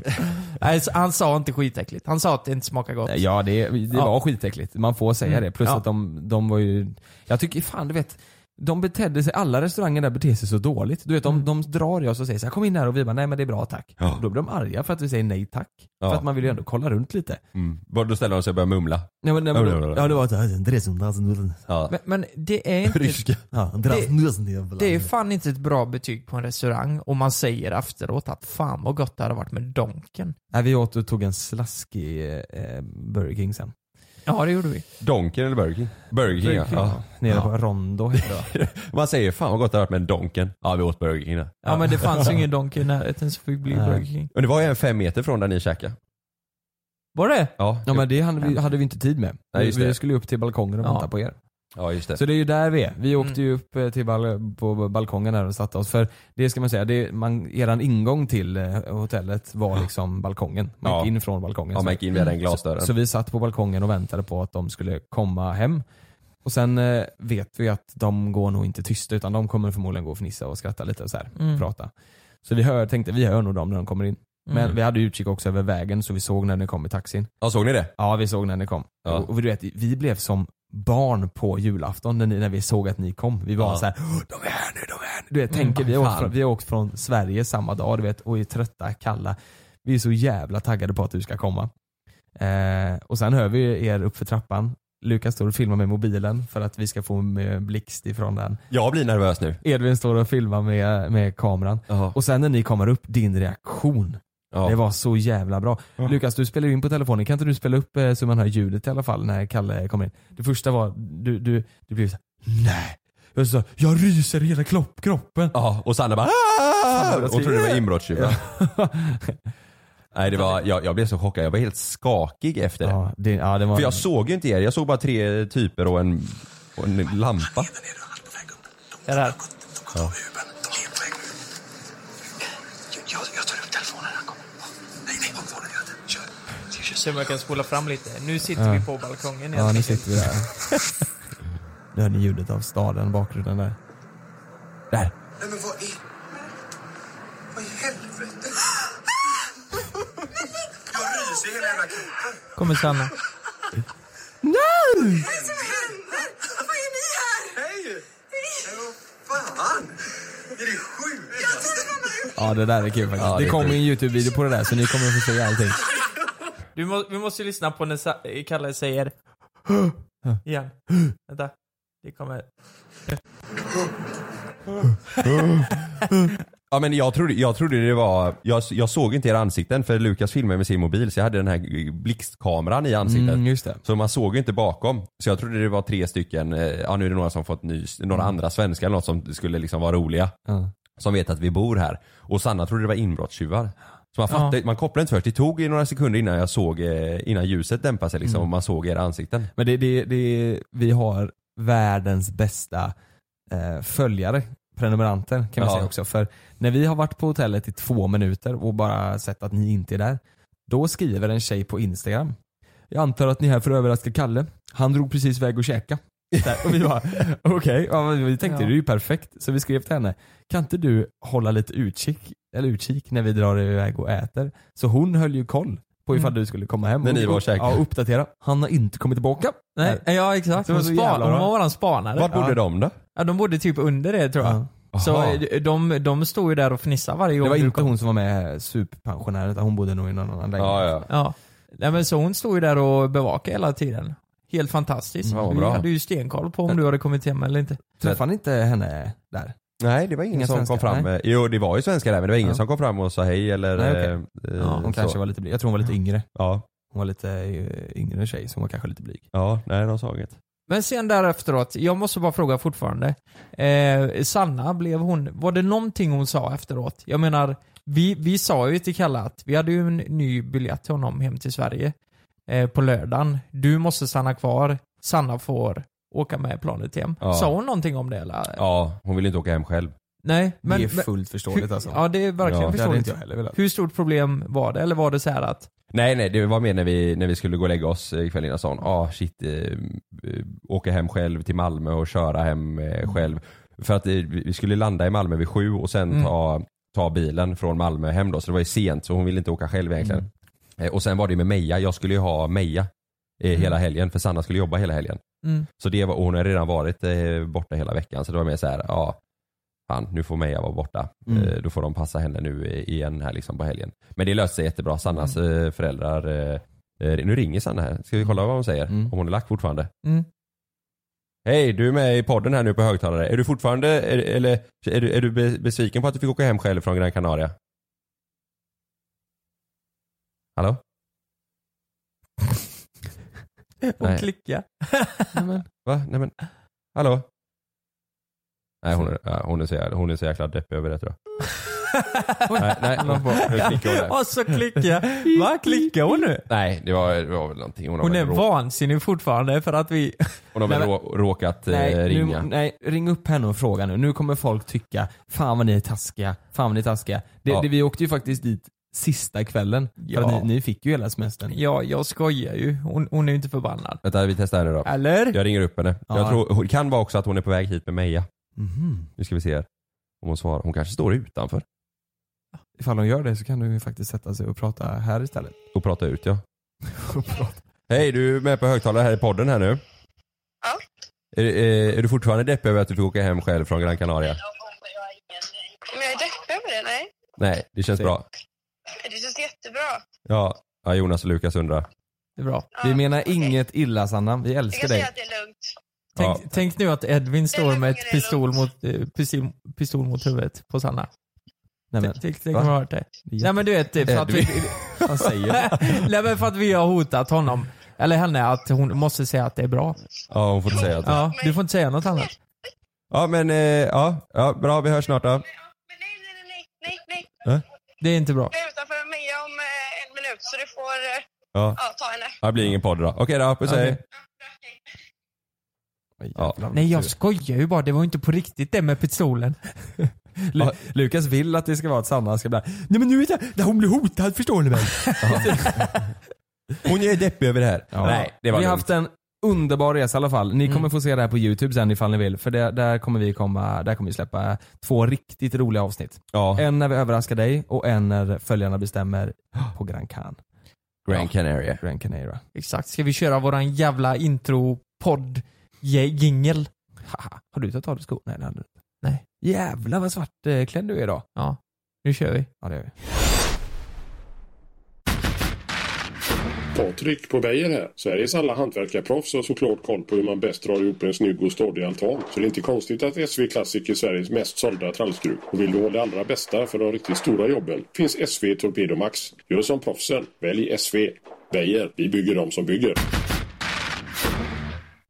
Speaker 5: nej, så han sa inte skitäckligt, han sa att det inte smakar gott.
Speaker 4: Ja det, det
Speaker 5: Ja.
Speaker 4: var skitäckligt, man får säga
Speaker 5: Mm.
Speaker 4: det. Plus
Speaker 5: Ja.
Speaker 4: att de, de var ju, jag tycker fan du vet, de betedde sig, alla restauranger där beter sig så dåligt. Du vet de, de drar i oss och säger så här, kom in här och vi bara nej men det är bra tack.
Speaker 6: Mm. Ja.
Speaker 4: Och då blir de arga för att vi säger nej tack.
Speaker 6: Ja.
Speaker 4: För att man vill ju ändå kolla runt lite.
Speaker 6: Mm. Bara Då ställer de sig och börjar mumla.
Speaker 4: Ja, men, nej,
Speaker 6: Ja,
Speaker 4: men,
Speaker 6: ja, ja, ja.
Speaker 4: ja det var såhär,
Speaker 6: Ja.
Speaker 5: Men, men det är inte
Speaker 6: Ryska.
Speaker 4: ja,
Speaker 5: Det är fan inte ett bra betyg på en restaurang om man säger efteråt att fan vad gott det hade varit med donken.
Speaker 4: Nej vi åt och tog en slaskig eh, Burger King sen.
Speaker 5: Ja det gjorde vi.
Speaker 6: Donken eller Burger King? Burger King, ja. ja.
Speaker 4: Nere på Rondo hette det va?
Speaker 6: Man säger fan vad gott det har varit med en Donken. Ja vi åt Burger King där.
Speaker 5: Ja, men det fanns ju ingen Donken i närheten så fick bli
Speaker 4: Nej.
Speaker 5: Burger King.
Speaker 6: Och det var ju en fem meter från där ni käkade.
Speaker 5: Var det?
Speaker 6: Ja,
Speaker 4: Ja men det hade vi, hade vi inte tid med.
Speaker 6: Nej,
Speaker 4: vi,
Speaker 6: just det.
Speaker 4: vi skulle ju upp till balkongen och
Speaker 5: Ja.
Speaker 4: vänta på er.
Speaker 6: ja just det.
Speaker 4: Så det är ju där vi är. Vi åkte ju upp eh, till bal på balkongen där och satte oss. För det ska man säga, det man, eran ingång till eh, hotellet var liksom balkongen. Man gick
Speaker 6: Ja.
Speaker 4: in från balkongen.
Speaker 6: Ja man gick in
Speaker 5: Mm.
Speaker 6: via den glasdörren.
Speaker 4: så, så vi satt på balkongen och väntade på att de skulle komma hem. Och sen eh, vet vi att de går nog inte tysta utan de kommer förmodligen gå och fnissa och skratta lite och så här,
Speaker 5: Mm.
Speaker 4: prata. Så vi hör, tänkte vi hör nog dem när de kommer in.
Speaker 5: Men vi hade utkik också över vägen så vi såg när den kom i taxin.
Speaker 6: Ja, såg ni det?
Speaker 5: Ja, vi såg när den kom.
Speaker 6: Ja.
Speaker 5: Och, och du vet, vi blev som barn på julafton när, ni, när vi såg att ni kom. Vi var
Speaker 6: Ja.
Speaker 5: så här, "Åh, de är här nu, de är här nu. Du vet, tänker vi, har
Speaker 6: Mm. fan.
Speaker 5: åkt från, vi har åkt från Sverige samma dag du vet, och är trötta, kalla. Vi är så jävla taggade på att du ska komma. Eh, och sen hör vi er upp för trappan. Lukas står och filmar med mobilen för att vi ska få en eh, blixt ifrån den.
Speaker 6: Jag blir nervös nu.
Speaker 5: Edvin står och filmar med, med kameran.
Speaker 6: Ja.
Speaker 5: Och sen när ni kommer upp, din reaktion.
Speaker 6: Ja.
Speaker 5: Det var så jävla bra.
Speaker 6: Ja.
Speaker 5: Lukas, du spelar ju in på telefonen. Kan inte du spela upp eh, så man hör ljudet i alla fall när Kalle kommer in? Det första var, du, du, du blev såhär, nej. Jag sa, jag ryser i hela klopp, kroppen.
Speaker 6: Ja, och Sanna bara "Ah!"
Speaker 5: bara,
Speaker 6: Hon trodde det var inbrottstjuvar.
Speaker 5: Ja.
Speaker 6: Nej, det var, jag, jag blev så chockad. Jag var helt skakig efter det.
Speaker 5: ja, det, ja, det var
Speaker 6: För jag såg ju inte er. Jag såg bara tre typer och en, och en lampa.
Speaker 1: Det där.
Speaker 6: Ja.
Speaker 7: Jag, jag tar upp telefonen när han kommer. Nej, nej, håll kvar den. Kör.
Speaker 1: Se om jag kan spola fram lite. Nu sitter vi på balkongen
Speaker 5: Ja, nu
Speaker 1: enkelt.
Speaker 5: sitter vi där. nu hör ni ljudet av staden, bakgrunden där. Där.
Speaker 7: Nej, men vad i... Vad i helvete? Jag ryser hela jävla kroppen.
Speaker 1: Kommer Sanna.
Speaker 7: Hej! Vad fan? Är det sjukt?
Speaker 5: Ja, det där är kul faktiskt.
Speaker 6: Ja,
Speaker 5: det
Speaker 6: det är
Speaker 5: kommer
Speaker 6: kul.
Speaker 5: en YouTube-video på det där så ni kommer att få se allting.
Speaker 1: Du må, vi måste ju lyssna på när Sa- Kalle säger igen. Vänta. Det kommer.
Speaker 6: Ja men jag trodde, jag trodde det var, jag, jag såg inte era ansikten för Lukas filmade med sin mobil så jag hade den här blixtkameran i ansiktet.
Speaker 5: Mm, just det.
Speaker 6: Så man såg ju inte bakom. Så jag trodde det var tre stycken, eh, ja nu är det några som fått nys, några andra svenskar eller något som skulle liksom vara roliga.
Speaker 5: Mm. Ja.
Speaker 6: Som vet att vi bor här. Och Sanna trodde det var inbrottstjuvar. Så man fattade, man kopplade inte först. Det tog ju några sekunder innan jag såg, eh, innan ljuset dämpade sig
Speaker 5: Mm.
Speaker 6: liksom och man såg era ansikten.
Speaker 5: Men det, det, det, vi har världens bästa eh, följare, prenumeranter kan man
Speaker 6: Ja.
Speaker 5: säga också. För när vi har varit på hotellet i två minuter och bara sett att ni inte är där, då skriver en tjej på Instagram. Jag antar att ni är här för att överraska Kalle. Han drog precis väg och käka. Så här, Och vi bara, okej, ja, men vi tänkte
Speaker 1: Ja.
Speaker 5: det är ju perfekt. Så vi skrev till henne, kan inte du hålla lite utkik, eller utkik när vi drar iväg och äter? Så hon höll ju koll på ifall
Speaker 1: Mm.
Speaker 5: du skulle komma hem.
Speaker 6: När
Speaker 5: och,
Speaker 6: ni var och käkade.
Speaker 5: Ja, uppdatera. Han har inte kommit tillbaka.
Speaker 1: Nej, ja exakt.
Speaker 5: Det var
Speaker 1: Hon,
Speaker 5: så
Speaker 1: span,
Speaker 5: jävla
Speaker 1: hon
Speaker 5: bra.
Speaker 1: var våran spanare.
Speaker 6: Vart bodde
Speaker 1: ja.
Speaker 6: de då?
Speaker 1: Ja, de bodde typ under det tror jag.
Speaker 5: Ja.
Speaker 1: Så
Speaker 6: Aha.
Speaker 1: eh, de, de stod ju där och fnissade varje gång.
Speaker 5: Det var
Speaker 1: du
Speaker 5: inte
Speaker 1: kom.
Speaker 5: hon som var med superpensionären utan hon bodde nog i någon annan lägenhet.
Speaker 6: Ja, ja.
Speaker 1: Ja. Nej men så hon stod ju där och bevakade hela tiden. Helt fantastiskt.
Speaker 6: Ja, vad
Speaker 1: vi
Speaker 6: bra.
Speaker 1: hade ju stenkoll på om du hade kommit hem eller inte.
Speaker 5: Träffade ni inte henne där?
Speaker 6: Nej det var ingen
Speaker 5: Inga
Speaker 6: som kom
Speaker 5: svenskar,
Speaker 6: fram. eh, Jo det var ju svenskar där men det var ingen
Speaker 5: Ja.
Speaker 6: som kom fram och sa hej eller
Speaker 5: Nej, okej.
Speaker 6: eh, eh,
Speaker 5: Ja, hon
Speaker 6: så.
Speaker 5: kanske var lite blyg. Jag tror hon var lite yngre.
Speaker 6: Ja,
Speaker 5: Hon var lite eh, yngre tjej så hon var kanske lite blyg.
Speaker 6: ja nej de sa inget.
Speaker 1: Men sen där efteråt, jag måste bara fråga fortfarande. Eh, Sanna, blev hon, var det någonting hon sa efteråt? Jag menar, vi, vi sa ju till Kalle att vi hade ju en ny biljett till honom hem till Sverige eh, på lördagen. Du måste stanna kvar, Sanna får åka med planet hem.
Speaker 6: Ja.
Speaker 1: Sa hon någonting om det eller?
Speaker 6: Ja, hon ville inte åka hem själv.
Speaker 1: Nej, men...
Speaker 5: det är fullt förståeligt
Speaker 1: hur,
Speaker 5: alltså.
Speaker 1: Ja, det är verkligen
Speaker 6: Ja,
Speaker 5: det hade
Speaker 1: förståeligt.
Speaker 5: inte jag heller velat.
Speaker 1: Hur stort problem var det? Eller var det så här att,
Speaker 6: Nej nej det var mer när vi, när vi skulle gå och lägga oss eh, kvällen innan sa hon, ah shit, eh, eh, åka hem själv till Malmö och köra hem eh, själv. För att eh, vi vi skulle landa i Malmö vid sju och sen
Speaker 1: Mm.
Speaker 6: ta, ta bilen från Malmö hem då så det var ju sent så hon ville inte åka själv egentligen. Eh, Och sen var det ju med Meja, jag skulle ju ha Meja eh, hela helgen för Sanna skulle jobba hela helgen.
Speaker 1: mm,
Speaker 6: Så det var, och hon har redan varit eh, borta hela veckan så det var mer så här, ja, fan nu får Meja vara borta.
Speaker 5: Mm.
Speaker 6: Eh, då får de passa henne nu i- igen här liksom på helgen. Men det löste sig jättebra. Sannas eh, föräldrar, eh, eh, nu ringer Sanna här. Ska vi kolla vad hon säger?
Speaker 5: Mm.
Speaker 6: Om hon är lack fortfarande.
Speaker 1: mm.
Speaker 6: Hej, du är med i podden här nu på högtalare. Är du fortfarande, är, eller är du, är du be- besviken på att du fick åka hem själv från Gran Canaria? Hallå?
Speaker 1: Hon
Speaker 6: Nej.
Speaker 1: klickar.
Speaker 6: Nej men, va? Nej men, hallå? Nej hon är, ja, hon är, så, jävla, hon är så jäkla deppig över det tror jag. nej, nej, hon får- nu klickar hon där.
Speaker 1: Och så klickar Va? Klickar hon nu?
Speaker 6: nej det, var, det var väl någonting. Hon har,
Speaker 1: Hon är
Speaker 6: väl, rå,
Speaker 1: vansinnig fortfarande för att vi...
Speaker 6: hon har väl
Speaker 5: Nej, men-
Speaker 6: rå, råkat eh,
Speaker 5: nu,
Speaker 6: ringa.
Speaker 5: nej, ring upp henne och fråga nu. Nu kommer folk tycka, fan vad ni är taskiga, fan vad ni är taskiga. Det,
Speaker 6: Ja.
Speaker 5: det, vi åkte ju faktiskt dit sista kvällen.
Speaker 1: Ja.
Speaker 5: För att ni, ni fick ju hela semestern.
Speaker 1: Ja, jag skojar ju. Hon, hon är ju inte förbannad.
Speaker 6: Vänta vi testar henne då.
Speaker 1: Eller?
Speaker 6: Jag ringer upp henne. Jag
Speaker 5: Ja.
Speaker 6: tror, det kan vara också att hon är på väg hit med Meja.
Speaker 5: Mhm.
Speaker 6: Nu ska vi se här. Om hon svarar. Hon kanske står utanför.
Speaker 4: ifall de gör det så kan de ju faktiskt sätta sig och prata här istället.
Speaker 6: Och prata ut ja. Hej, du är med på högtalare här i podden här nu.
Speaker 8: Ja.
Speaker 6: Är, eh, är, är du fortfarande deppig över att du fick åka hem själv från Gran Canaria?
Speaker 8: Men jag är deppig över det, nej.
Speaker 6: Nej, det känns bra.
Speaker 8: Det känns jättebra.
Speaker 6: Ja, ja Jonas och Lukas undrar.
Speaker 4: Det är bra. Vi menar inget illa Sanna, vi
Speaker 8: Jag
Speaker 4: älskar
Speaker 8: kan
Speaker 4: dig.
Speaker 8: säga att det är lugnt.
Speaker 5: Tänk, tänk nu att Edvin står med ett pistol mot, eh, pistol, pistol mot huvudet på Sanna.
Speaker 4: Nej, men,
Speaker 5: Tänk, tänk om jag har hört det. Nej men du vet, typ för att vi...
Speaker 4: Edvin, vad säger
Speaker 5: Nej men för att vi har hotat honom. Eller henne, att hon måste säga att det är bra.
Speaker 6: Ja, hon får inte säga att
Speaker 5: Ja, du får inte säga något annat.
Speaker 6: Ja, men eh, ja, ja, bra vi hörs snart då.
Speaker 8: Nej, nej.
Speaker 6: Eh?
Speaker 5: Det är inte bra.
Speaker 8: Jag är utanför Mia om eh, en minut så du får eh,
Speaker 6: Ja.
Speaker 8: ja, ta henne.
Speaker 6: Ja, det blir ingen podd då. Okej då, puss hej. Ja.
Speaker 5: Nej jag skojar ju bara, det var ju inte på riktigt det med pistolen.
Speaker 4: Lu- Lukas vill att det ska vara att Sanna ska bli Nej men nu vet jag, när hon blir hotad förstår ni väl?
Speaker 6: Hon är deppig över det här. Nej, det var
Speaker 4: Vi har
Speaker 6: lugnt.
Speaker 4: haft en underbar resa i alla fall. Ni
Speaker 5: Mm.
Speaker 4: kommer få se det här på youtube sen ifall ni vill. För det, där kommer vi komma, där kommer vi släppa två riktigt roliga avsnitt.
Speaker 6: Ja,
Speaker 4: En när vi överraskar dig och en när följarna bestämmer på Gran Can.
Speaker 6: Gran Canaria.
Speaker 4: Gran Canaria.
Speaker 5: Exakt, ska vi köra våran jävla intro-podd je- jingel?
Speaker 4: Haha, har du tagit av dig skor? Nej det hade du inte.
Speaker 5: Nej.
Speaker 4: Jävlar vad svartklädd du är idag.
Speaker 5: Ja, nu kör vi.
Speaker 4: Ja det gör vi.
Speaker 2: Patrik på Beijer här. Sveriges alla hantverkarproffs har såklart koll på hur man bäst drar ihop en snygg och stadig altan. Så det är inte konstigt att SV Classic är Sveriges mest sålda trallskruv. Och vill du ha det allra bästa för de riktigt stora jobben finns SV Torpedo Max. Gör som proffsen. Välj SV. Beijer. Vi bygger dem som bygger.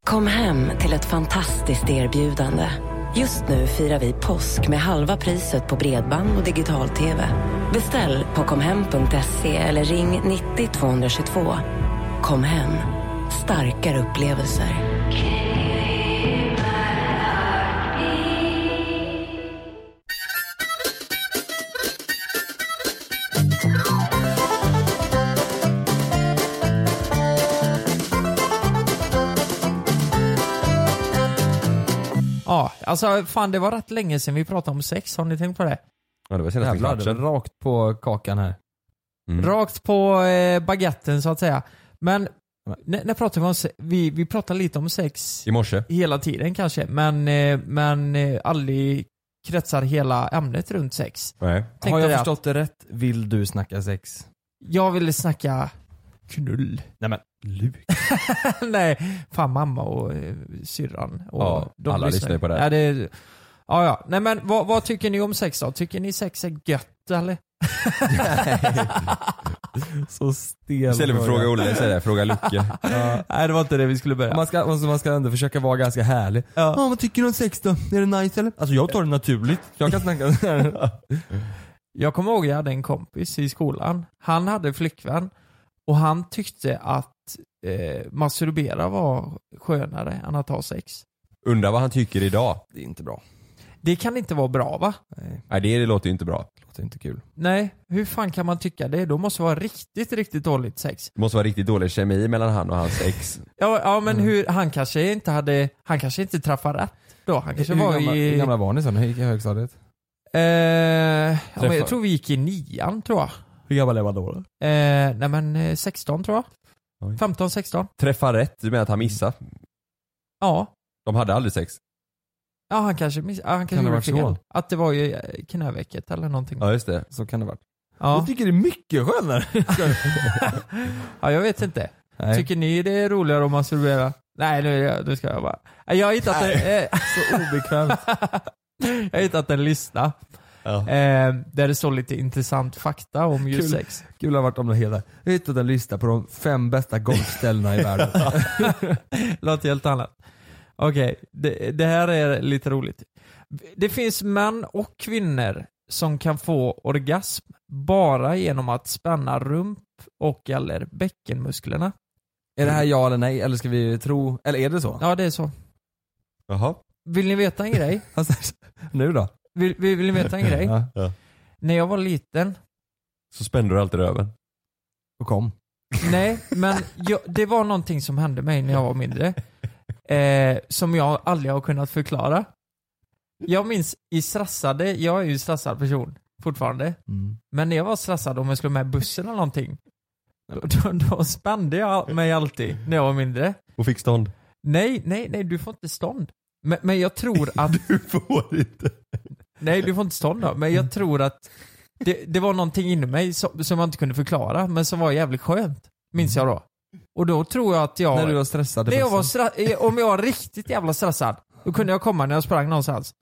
Speaker 3: Kom hem till ett fantastiskt erbjudande. Just nu firar vi påsk med halva priset på bredband och digital-tv. Beställ på komhem.se eller ring 90 222. Kom hem, starkare upplevelser.
Speaker 5: Ja, alltså fan det var rätt länge sedan vi pratade om sex, har ni tänkt på det?
Speaker 6: Ja, det var senaste
Speaker 4: Jävlar, det
Speaker 6: kvartsen.
Speaker 4: var rakt på kakan här.
Speaker 6: Mm.
Speaker 5: Rakt på eh, baguetten så att säga. Men, när, när pratar vi om se- vi, vi pratar lite om sex
Speaker 6: I morse.
Speaker 5: hela tiden kanske, men, eh, men eh, aldrig kretsar hela ämnet runt sex.
Speaker 6: Nej.
Speaker 5: Tänkte
Speaker 4: har jag
Speaker 5: det
Speaker 4: förstått det rätt? Vill du snacka sex?
Speaker 5: Jag ville snacka knull.
Speaker 4: Nej men Lukas.
Speaker 5: Nej, fan mamma och eh, syrran. Och
Speaker 6: Ja, alla lyssnar ju på det här.
Speaker 5: Ja, det ja, ja. Nej men vad, vad tycker ni om sex då? Tycker ni sex är gött eller?
Speaker 4: Så stel
Speaker 6: Istället för att
Speaker 4: fråga.
Speaker 6: fråga Olle, säger det, fråga Lucke.
Speaker 5: Nej det var inte det vi skulle börja.
Speaker 4: Man ska, alltså man ska ändå försöka vara ganska härlig. Ja. vad tycker du om sex då? Är det nice eller? Alltså jag tar det naturligt. Jag kan snacka
Speaker 5: Jag kommer ihåg jag hade en kompis i skolan. Han hade flickvän och han tyckte att eh, masturbera var skönare än att ha sex.
Speaker 6: Undrar vad han tycker idag.
Speaker 4: Det är inte bra.
Speaker 5: Det kan inte vara bra va?
Speaker 6: Nej, det, det låter ju inte bra.
Speaker 4: Det låter inte kul.
Speaker 5: Nej, hur fan kan man tycka det? Då måste det vara riktigt, riktigt dåligt sex.
Speaker 6: Det måste vara riktigt dålig kemi mellan han och hans ex.
Speaker 5: Ja, ja
Speaker 4: Mm.
Speaker 5: men hur, han kanske inte hade, han kanske inte träffade rätt då. Han kanske
Speaker 4: hur,
Speaker 5: var
Speaker 4: gamla,
Speaker 5: i...
Speaker 4: hur gamla var ni sen? Hur gick i högstadiet?
Speaker 5: eh, ja, men
Speaker 6: Träffade.
Speaker 5: jag tror vi gick i nian tror jag.
Speaker 4: Hur gammal var då?
Speaker 5: Eh, nej men eh, 16 tror jag.
Speaker 6: Oj.
Speaker 5: 15, 16.
Speaker 6: Träffa rätt, du menar att han missade?
Speaker 5: Ja.
Speaker 6: De hade aldrig sex?
Speaker 5: Ja han kanske miss, ja, han kanske
Speaker 4: Kan det
Speaker 5: gjorde
Speaker 4: varit
Speaker 5: fel.
Speaker 4: så?
Speaker 5: Att det var ju eh, knävecket eller någonting.
Speaker 6: Ja, just det.
Speaker 4: Så kan det varit.
Speaker 5: Ja.
Speaker 4: tycker det är mycket skönare.
Speaker 5: ja, jag vet inte.
Speaker 4: Nej.
Speaker 5: Tycker ni det är roligare att masturbera? Nej nu, är jag- nu ska jag bara. Nej, Jag har hittat, en, eh,
Speaker 4: Så obekvämt.
Speaker 5: jag har hittat en lista. Eh, där det står lite intressant fakta om just
Speaker 4: Kul.
Speaker 5: sex.
Speaker 4: Kul att ha varit om det hela. Jag har hittat en lista på de fem bästa golfställena i världen.
Speaker 5: Något helt annat. Okej, det, det här är lite roligt. Det finns män och kvinnor som kan få orgasm bara genom att spänna rump och eller bäckenmusklerna.
Speaker 4: är det här ja eller nej? Eller ska vi tro? Eller är det så?
Speaker 5: Ja, det är så.
Speaker 6: Jaha.
Speaker 5: Vill ni veta en grej?
Speaker 4: Alltså, nu då?
Speaker 5: Vill, vill, vill ni veta en grej?
Speaker 4: Ja.
Speaker 5: När jag var liten,
Speaker 6: Så spände du alltid röven.
Speaker 4: Och kom.
Speaker 5: nej, men jag, det var någonting som hände mig när jag var mindre. Eh, som jag aldrig har kunnat förklara. Jag minns i stressade, jag är ju en stressad person. fortfarande.
Speaker 4: Mm.
Speaker 5: Men när jag var stressad om jag skulle med bussen eller någonting, då, då, då spände jag mig alltid när jag var mindre.
Speaker 6: Och fick stånd.
Speaker 5: Nej, nej, nej, du får inte stånd. Men, men jag tror att...
Speaker 6: Du får inte.
Speaker 5: Nej, du får inte stånd då. Men jag tror att det, det var någonting inom mig som, som jag inte kunde förklara, men som var jävligt skönt. Minns jag då. Och då tror jag att jag...
Speaker 4: När du var stressad i
Speaker 5: när jag var
Speaker 4: bussen.
Speaker 5: stra- eh, om jag var riktigt jävla stressad, då kunde jag komma när jag sprang någonstans.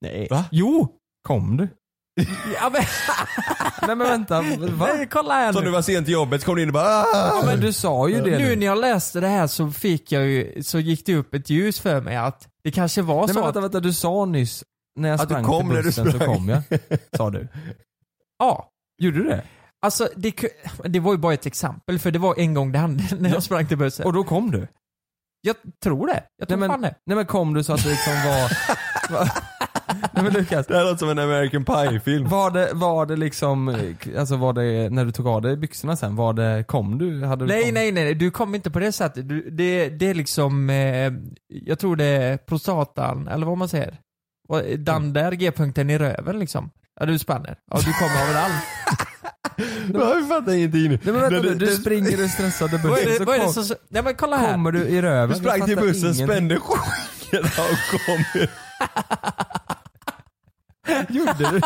Speaker 4: Nej.
Speaker 5: Jo!
Speaker 4: Kom du?
Speaker 5: Ja, men,
Speaker 4: Nej men vänta, va?
Speaker 5: nej, kolla här
Speaker 6: Så
Speaker 5: nu.
Speaker 6: du var sen till jobbet så kom du in och bara "Ah!"
Speaker 4: Ja, men du sa ju det
Speaker 5: Nu när jag läste det här så fick jag ju, så gick det upp ett ljus för mig att det kanske var
Speaker 4: Nej
Speaker 5: så
Speaker 4: men
Speaker 5: att,
Speaker 4: vänta, vänta, du sa nyss när jag
Speaker 6: Att du
Speaker 4: sprang
Speaker 6: kom när
Speaker 4: till
Speaker 6: du
Speaker 4: bussen så
Speaker 6: sprang.
Speaker 4: kom jag. Sa du.
Speaker 5: ja.
Speaker 4: Gjorde du det?
Speaker 5: Alltså det, ku- det var ju bara ett exempel för det var en gång det hände när jag sprang till bussen.
Speaker 4: Och då kom du?
Speaker 5: Jag tror det. Jag tror
Speaker 4: Nej
Speaker 5: fan
Speaker 4: men,
Speaker 5: det.
Speaker 4: nej men kom du så att du liksom var... Va? Nej men Lukas,
Speaker 6: Det här låter som en American Pie-film.
Speaker 4: var det, var det liksom, eh, alltså var det, när du tog av dig byxorna sen, var det, kom du? Hade du
Speaker 5: Nej,
Speaker 4: kom...
Speaker 5: nej, nej, du kom inte på det sättet. Du, det, det är liksom, eh, jag tror det är prostatan, eller vad man säger. Och Den där g-punkten i röven liksom. Ja, du spänner. Ja, du kommer överallt.
Speaker 6: Jag fattar ingenting nu.
Speaker 4: Nej men vänta
Speaker 6: Det-
Speaker 4: nu,
Speaker 6: det-
Speaker 4: du springer ur stressade bussen
Speaker 5: vad är det,
Speaker 4: så
Speaker 5: vad är det
Speaker 4: kom-
Speaker 5: som, nej men kolla här.
Speaker 4: kommer du i röven.
Speaker 6: Du sprang
Speaker 4: Jag
Speaker 6: till
Speaker 4: fattar
Speaker 6: bussen,
Speaker 4: ingenting.
Speaker 6: spände skinkorna och kom ut.
Speaker 4: Gjorde du,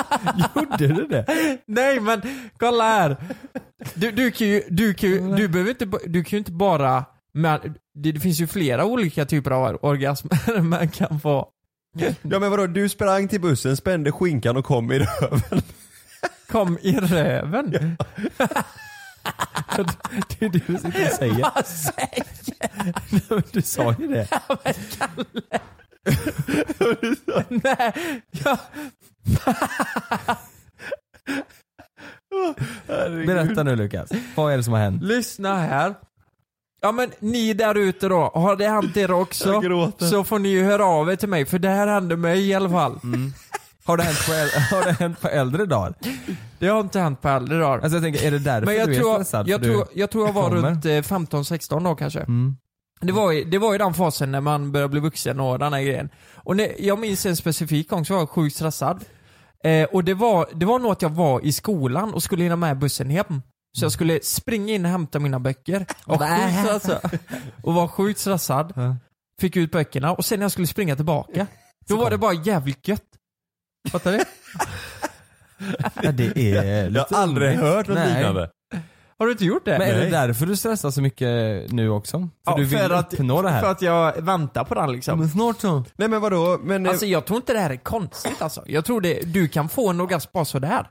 Speaker 4: gjorde du det?
Speaker 5: Nej men kolla här. Du, du kan ju, du kan ju, du behöver inte, ba- du kan ju inte bara, men det, det finns ju flera olika typer av orgasmer man kan få.
Speaker 6: Ja men vadå, du sprang till bussen, spände skinkan och kom i röven.
Speaker 5: Kom i röven.
Speaker 4: Det är det du sitter och säger.
Speaker 5: Vad säger
Speaker 4: Du sa ju det.
Speaker 5: Nej, jag,
Speaker 4: Berätta nu Lukas, vad är det som har hänt?
Speaker 5: lyssna här. Ja men ni där ute då, har det hänt er också?
Speaker 6: Jag gråter.
Speaker 5: Så får ni ju höra av er till mig, för det här hände mig i alla fall.
Speaker 6: Mm.
Speaker 4: Har det hänt på, äl- har det hänt på äldre dagar?
Speaker 5: Det har inte hänt på äldre dagar.
Speaker 4: Alltså jag tänker, är det därför
Speaker 5: Men jag
Speaker 4: du är
Speaker 5: tror,
Speaker 4: stressad?
Speaker 5: jag,
Speaker 4: För du-
Speaker 5: tror, jag tror jag var
Speaker 4: kommer.
Speaker 5: runt eh, 15-16 då kanske.
Speaker 4: Mm.
Speaker 5: Det, var ju, det var ju den fasen när man börjar bli vuxen och den här grejen. Och när, jag minns en specifik gång så var jag sjukt stressad. Eh, och det var, det var nog att jag var i skolan och skulle hinna med bussen hem. Så jag skulle springa in och hämta mina böcker. Och, var sjukt stressad. och var sjukt stressad.
Speaker 4: Ja.
Speaker 5: Fick ut böckerna och sen när jag skulle springa tillbaka, då var det bara jävligt gött. Fattar du?
Speaker 4: Ja, det är
Speaker 6: Jag har aldrig hört något
Speaker 4: Nej.
Speaker 6: liknande.
Speaker 5: Har du inte gjort det?
Speaker 4: Men är det
Speaker 6: Nej.
Speaker 4: därför du stressar så mycket nu också? För
Speaker 5: Ja,
Speaker 4: du vill
Speaker 5: för att-
Speaker 4: uppnå det här?
Speaker 5: För att jag väntar på den liksom.
Speaker 4: snart så.
Speaker 6: Nej men vadå, men... eh,
Speaker 5: Alltså jag tror inte det här är konstigt alltså. Jag tror det, du kan få en orgasm bara sådär.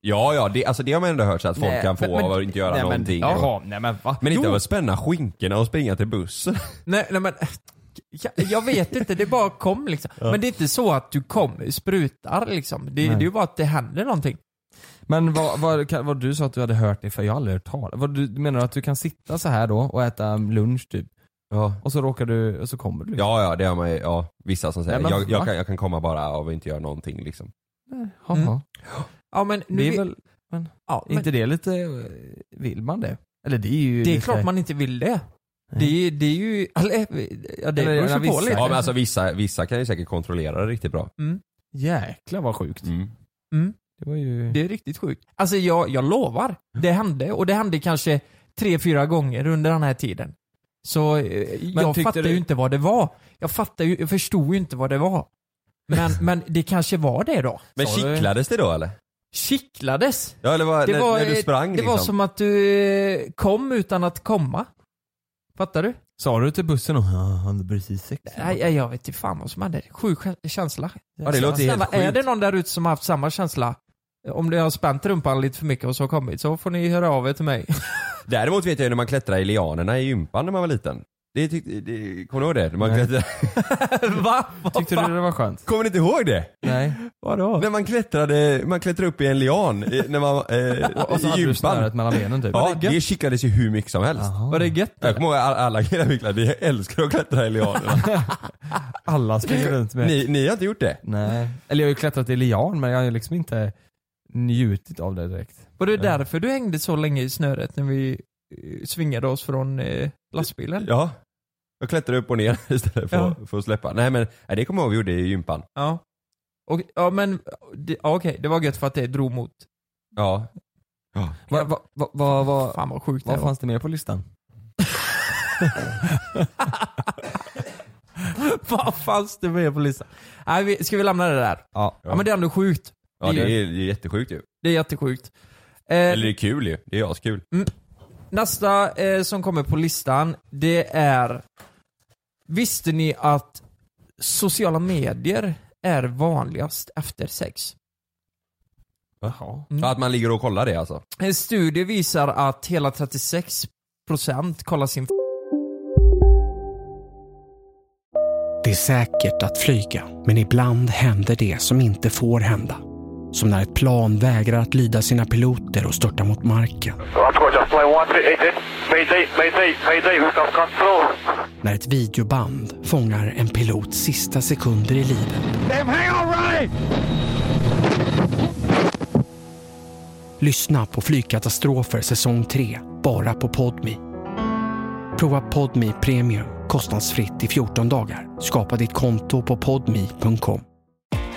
Speaker 6: Ja ja, det, alltså, det har man ändå hört så att folk
Speaker 5: Nej,
Speaker 6: kan få
Speaker 5: men- men-
Speaker 6: av att inte göra
Speaker 5: nej, men-
Speaker 6: någonting.
Speaker 5: ja.
Speaker 6: och,
Speaker 4: Jaha, nej men va?
Speaker 6: men inte
Speaker 5: Jo.
Speaker 6: av att spänna skinkorna och springa till bussen.
Speaker 5: Nej, nej men, jag, jag vet inte, det bara kom liksom. Men det är inte så att du kom, sprutar liksom. Det, det
Speaker 4: Nej.
Speaker 5: är ju bara att det händer någonting.
Speaker 4: Men vad, vad, kan- vad du sa att du hade hört det för, jag har aldrig hört tal. Vad du, menar du att du kan sitta så här då och äta um, lunch typ?
Speaker 6: Ja.
Speaker 4: Och så råkar du, och så kommer du?
Speaker 6: Ja ja, det har man ju, ja, vissa som säger
Speaker 4: Nej, men
Speaker 6: jag,
Speaker 4: va?
Speaker 6: jag, kan, jag kan komma bara av att inte göra någonting liksom.
Speaker 4: Jaha.
Speaker 5: Mm. Ja men nu...
Speaker 4: Det
Speaker 5: vi-
Speaker 4: är väl, men,
Speaker 5: ja,
Speaker 4: är
Speaker 5: men,
Speaker 4: inte det lite, eh, vill man det? Eller det är ju
Speaker 5: det är
Speaker 4: lite-
Speaker 5: klart man inte vill det. Det, är- det är ju... Eller, eh, ja, det
Speaker 4: Eller, ja,
Speaker 5: beror ju på
Speaker 4: vissa.
Speaker 5: lite.
Speaker 6: Ja men alltså vissa, vissa kan ju säkert kontrollera det riktigt bra.
Speaker 4: Jäklar vad sjukt. Det var ju...
Speaker 5: Det är riktigt sjukt. Alltså jag, jag lovar. Det hände och det hände kanske tre, fyra gånger under den här tiden. Så eh,
Speaker 4: Men
Speaker 5: jag
Speaker 4: tyckte
Speaker 5: fattar
Speaker 4: du-
Speaker 5: ju inte vad det var. Jag fattar ju, jag förstod ju inte vad det var. Men, men det kanske var det då.
Speaker 6: Men
Speaker 4: Sa du-
Speaker 6: kittlades det då eller?
Speaker 5: Kittlades.
Speaker 6: Ja eller vad,
Speaker 5: Det
Speaker 6: när,
Speaker 5: var,
Speaker 6: när du
Speaker 5: eh,
Speaker 6: sprang
Speaker 5: det
Speaker 6: liksom?
Speaker 5: var som att du eh, kom utan att komma. Fattar du?
Speaker 4: Sa du till bussen och "Ja, han hade precis sex?
Speaker 5: Nej, jag, jag vet inte fan vad som hände. Sjuk kä- känsla.
Speaker 6: Ja, det låter
Speaker 5: Snälla,
Speaker 6: helt
Speaker 5: är
Speaker 6: sjukt.
Speaker 5: det någon där ute som har haft samma känsla? Om det har spänt rumpan lite för mycket och så kommit så får ni höra av er till mig.
Speaker 6: Däremot vet jag ju när man klättrade i lianerna i gympan när man var liten. Det tyckte, det, kommer du ihåg det? När Man
Speaker 4: Nej.
Speaker 6: klättrade,
Speaker 5: Va?
Speaker 4: Tyckte du det var skönt?
Speaker 6: kommer ni inte ihåg det?
Speaker 4: Nej.
Speaker 5: Vadå?
Speaker 6: När man klättrade, man klättrade upp i en lian i, när man, eh,
Speaker 4: Och så
Speaker 6: i
Speaker 4: hade du
Speaker 6: gympan.
Speaker 4: snöret mellan benen typ?
Speaker 6: Ja, det kittlades ju hur mycket som helst.
Speaker 4: Jaha.
Speaker 5: Var det gött?
Speaker 6: Jag kommer ihåg alla, alla killar vi klättrade, vi älskar att klättra i lianerna.
Speaker 4: Alla springer runt med...
Speaker 6: ni, ni har inte gjort det?
Speaker 4: Nej. Eller jag har ju klättrat i lian men jag har ju liksom inte njutit av det direkt. Eh.
Speaker 5: Var det därför du hängde så länge i snöret när vi eh, svingade oss från eh, lastbilen?
Speaker 6: Ja. Jag klättrade upp och ner istället för,
Speaker 5: Ja.
Speaker 6: för att släppa. Nej men nej, det kommer jag ihåg vi gjorde i gympan.
Speaker 5: Ja. Och, ja men, det, ja, okej, det var gött för att det drog mot.
Speaker 6: Ja.
Speaker 9: Va, va, va, va, va,
Speaker 5: Fan vad sjukt det
Speaker 9: vad
Speaker 5: var.
Speaker 9: fanns det mer på listan?
Speaker 5: vad fanns det med på listan? Nej, vi, ska vi lämna det där?
Speaker 9: Ja.
Speaker 5: Ja men det är ändå sjukt.
Speaker 6: Ja det är, det är jättesjukt ju.
Speaker 5: Det är jättesjukt. Eh,
Speaker 6: Eller det är kul ju. Det är askul.
Speaker 5: Nästa eh, som kommer på listan, det är Visste ni att sociala medier är vanligast efter sex? Mm.
Speaker 6: Jaha. Att man ligger och kollar det alltså.
Speaker 5: En studie visar att hela 36% kollar sin f-
Speaker 10: Det är säkert att flyga, men ibland händer det som inte får hända. Som när ett plan vägrar att lyda sina piloter och störtar mot marken. När ett videoband fångar en pilots sista sekunder i livet. Lyssna på Flygkatastrofer säsong 3, bara på Podmi. Prova Podmi Premium kostnadsfritt i 14 dagar. Skapa ditt konto på podmi.com.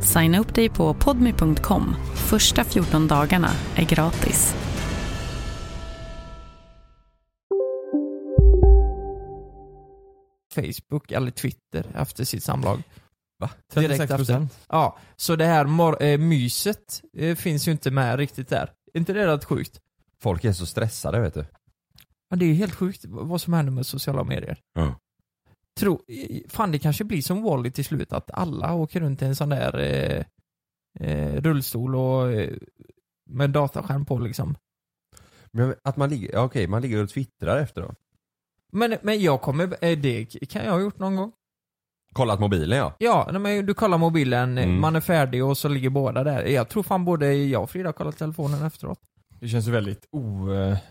Speaker 3: Signa upp dig på podmi.com. Första 14 dagarna är gratis.
Speaker 5: Facebook eller Twitter efter sitt samlag.
Speaker 6: Va?
Speaker 9: 36%?
Speaker 5: Ja, så det här mor- eh, myset eh, finns ju inte med riktigt där. Är inte det rätt sjukt?
Speaker 6: Folk är så stressade vet du.
Speaker 5: Ja, det är ju helt sjukt vad som händer med sociala medier.
Speaker 6: Ja.
Speaker 5: Tro, fan det kanske blir som Wall-E till slut, att alla åker runt i en sån där eh, eh, rullstol och eh, med dataskärm på liksom.
Speaker 6: Men att man ligger, ja, okej man ligger och twittrar efter då.
Speaker 5: Men, men jag kommer, eh, det kan jag ha gjort någon gång.
Speaker 6: Kollat mobilen ja.
Speaker 5: Ja, nej, men du kollar mobilen, eh,
Speaker 6: Mm.
Speaker 5: man är färdig och så ligger båda där. Jag tror fan både jag och Frida har kollat telefonen efteråt.
Speaker 9: Det känns ju väldigt eh,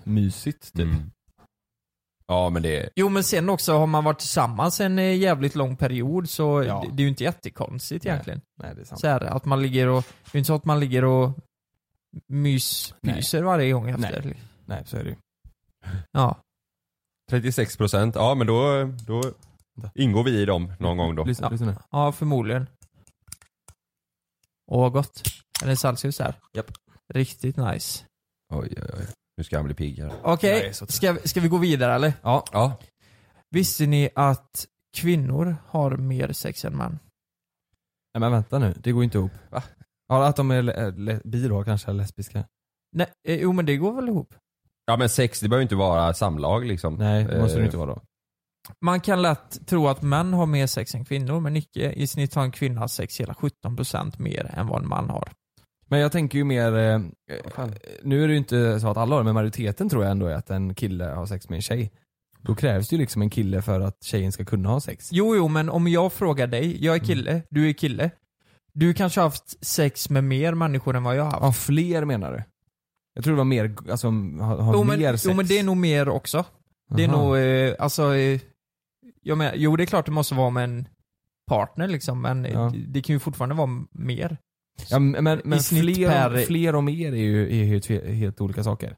Speaker 9: omysigt typ.
Speaker 6: Ja men det,
Speaker 5: Jo men sen också har man varit tillsammans en eh, jävligt lång period så det, det är ju inte jättekonstigt egentligen.
Speaker 9: Nej det är sant.
Speaker 5: Så här, att man ligger och, det är inte så att man ligger och myspyser varje gång efter.
Speaker 9: Nej så är det ju.
Speaker 5: Ja.
Speaker 6: 36% ja men då, då ingår vi i dem någon gång då.
Speaker 9: Lyssna, lyssna nu.
Speaker 5: ja, förmodligen. Åh vad gott. Är det salsljus här?
Speaker 9: Japp.
Speaker 5: Riktigt nice.
Speaker 6: Oj oj oj. Nu ska han bli pigg här.
Speaker 5: Okej,
Speaker 9: Jag är så trött.
Speaker 5: ska, vi- ska vi gå vidare eller?
Speaker 6: Ja. ja.
Speaker 5: Visste ni att kvinnor har mer sex än män?
Speaker 9: Nej men vänta nu, det går ju inte ihop.
Speaker 6: Va?
Speaker 9: Ja att de är le- le- bi då kanske, eller lesbiska.
Speaker 5: Nej, eh, jo men det går väl ihop?
Speaker 6: Ja men sex det behöver ju inte vara samlag liksom.
Speaker 9: Nej det måste det
Speaker 6: Eh,
Speaker 9: ju inte vara då.
Speaker 5: Man kan lätt tro att män har mer sex än kvinnor, men icke. I snitt har en kvinna sex hela 17% mer än vad en man har.
Speaker 9: Men jag tänker ju mer, eh, nu är det ju inte så att alla har det, men majoriteten tror jag ändå är att en kille har sex med en tjej. Då krävs det ju liksom en kille för att tjejen ska kunna ha sex. Mm.
Speaker 5: Jo, jo, men om jag frågar dig, jag är kille, du är kille. Du kanske har haft sex med mer människor än vad jag har haft.
Speaker 9: Ja, fler menar du? Jag tror det var mer, alltså ha, ha
Speaker 5: jo,
Speaker 9: mer
Speaker 5: men,
Speaker 9: sex.
Speaker 5: jo, men det är nog mer också. Det är
Speaker 9: Aha.
Speaker 5: nog, eh, alltså, eh, jag menar, jo det är klart det måste vara med en partner liksom, men eh,
Speaker 9: Ja.
Speaker 5: det, det kan ju fortfarande vara m- mer.
Speaker 9: ja, men men, men
Speaker 5: i snitt
Speaker 9: fler,
Speaker 5: per-
Speaker 9: fler och mer är ju, är ju tve, helt olika saker.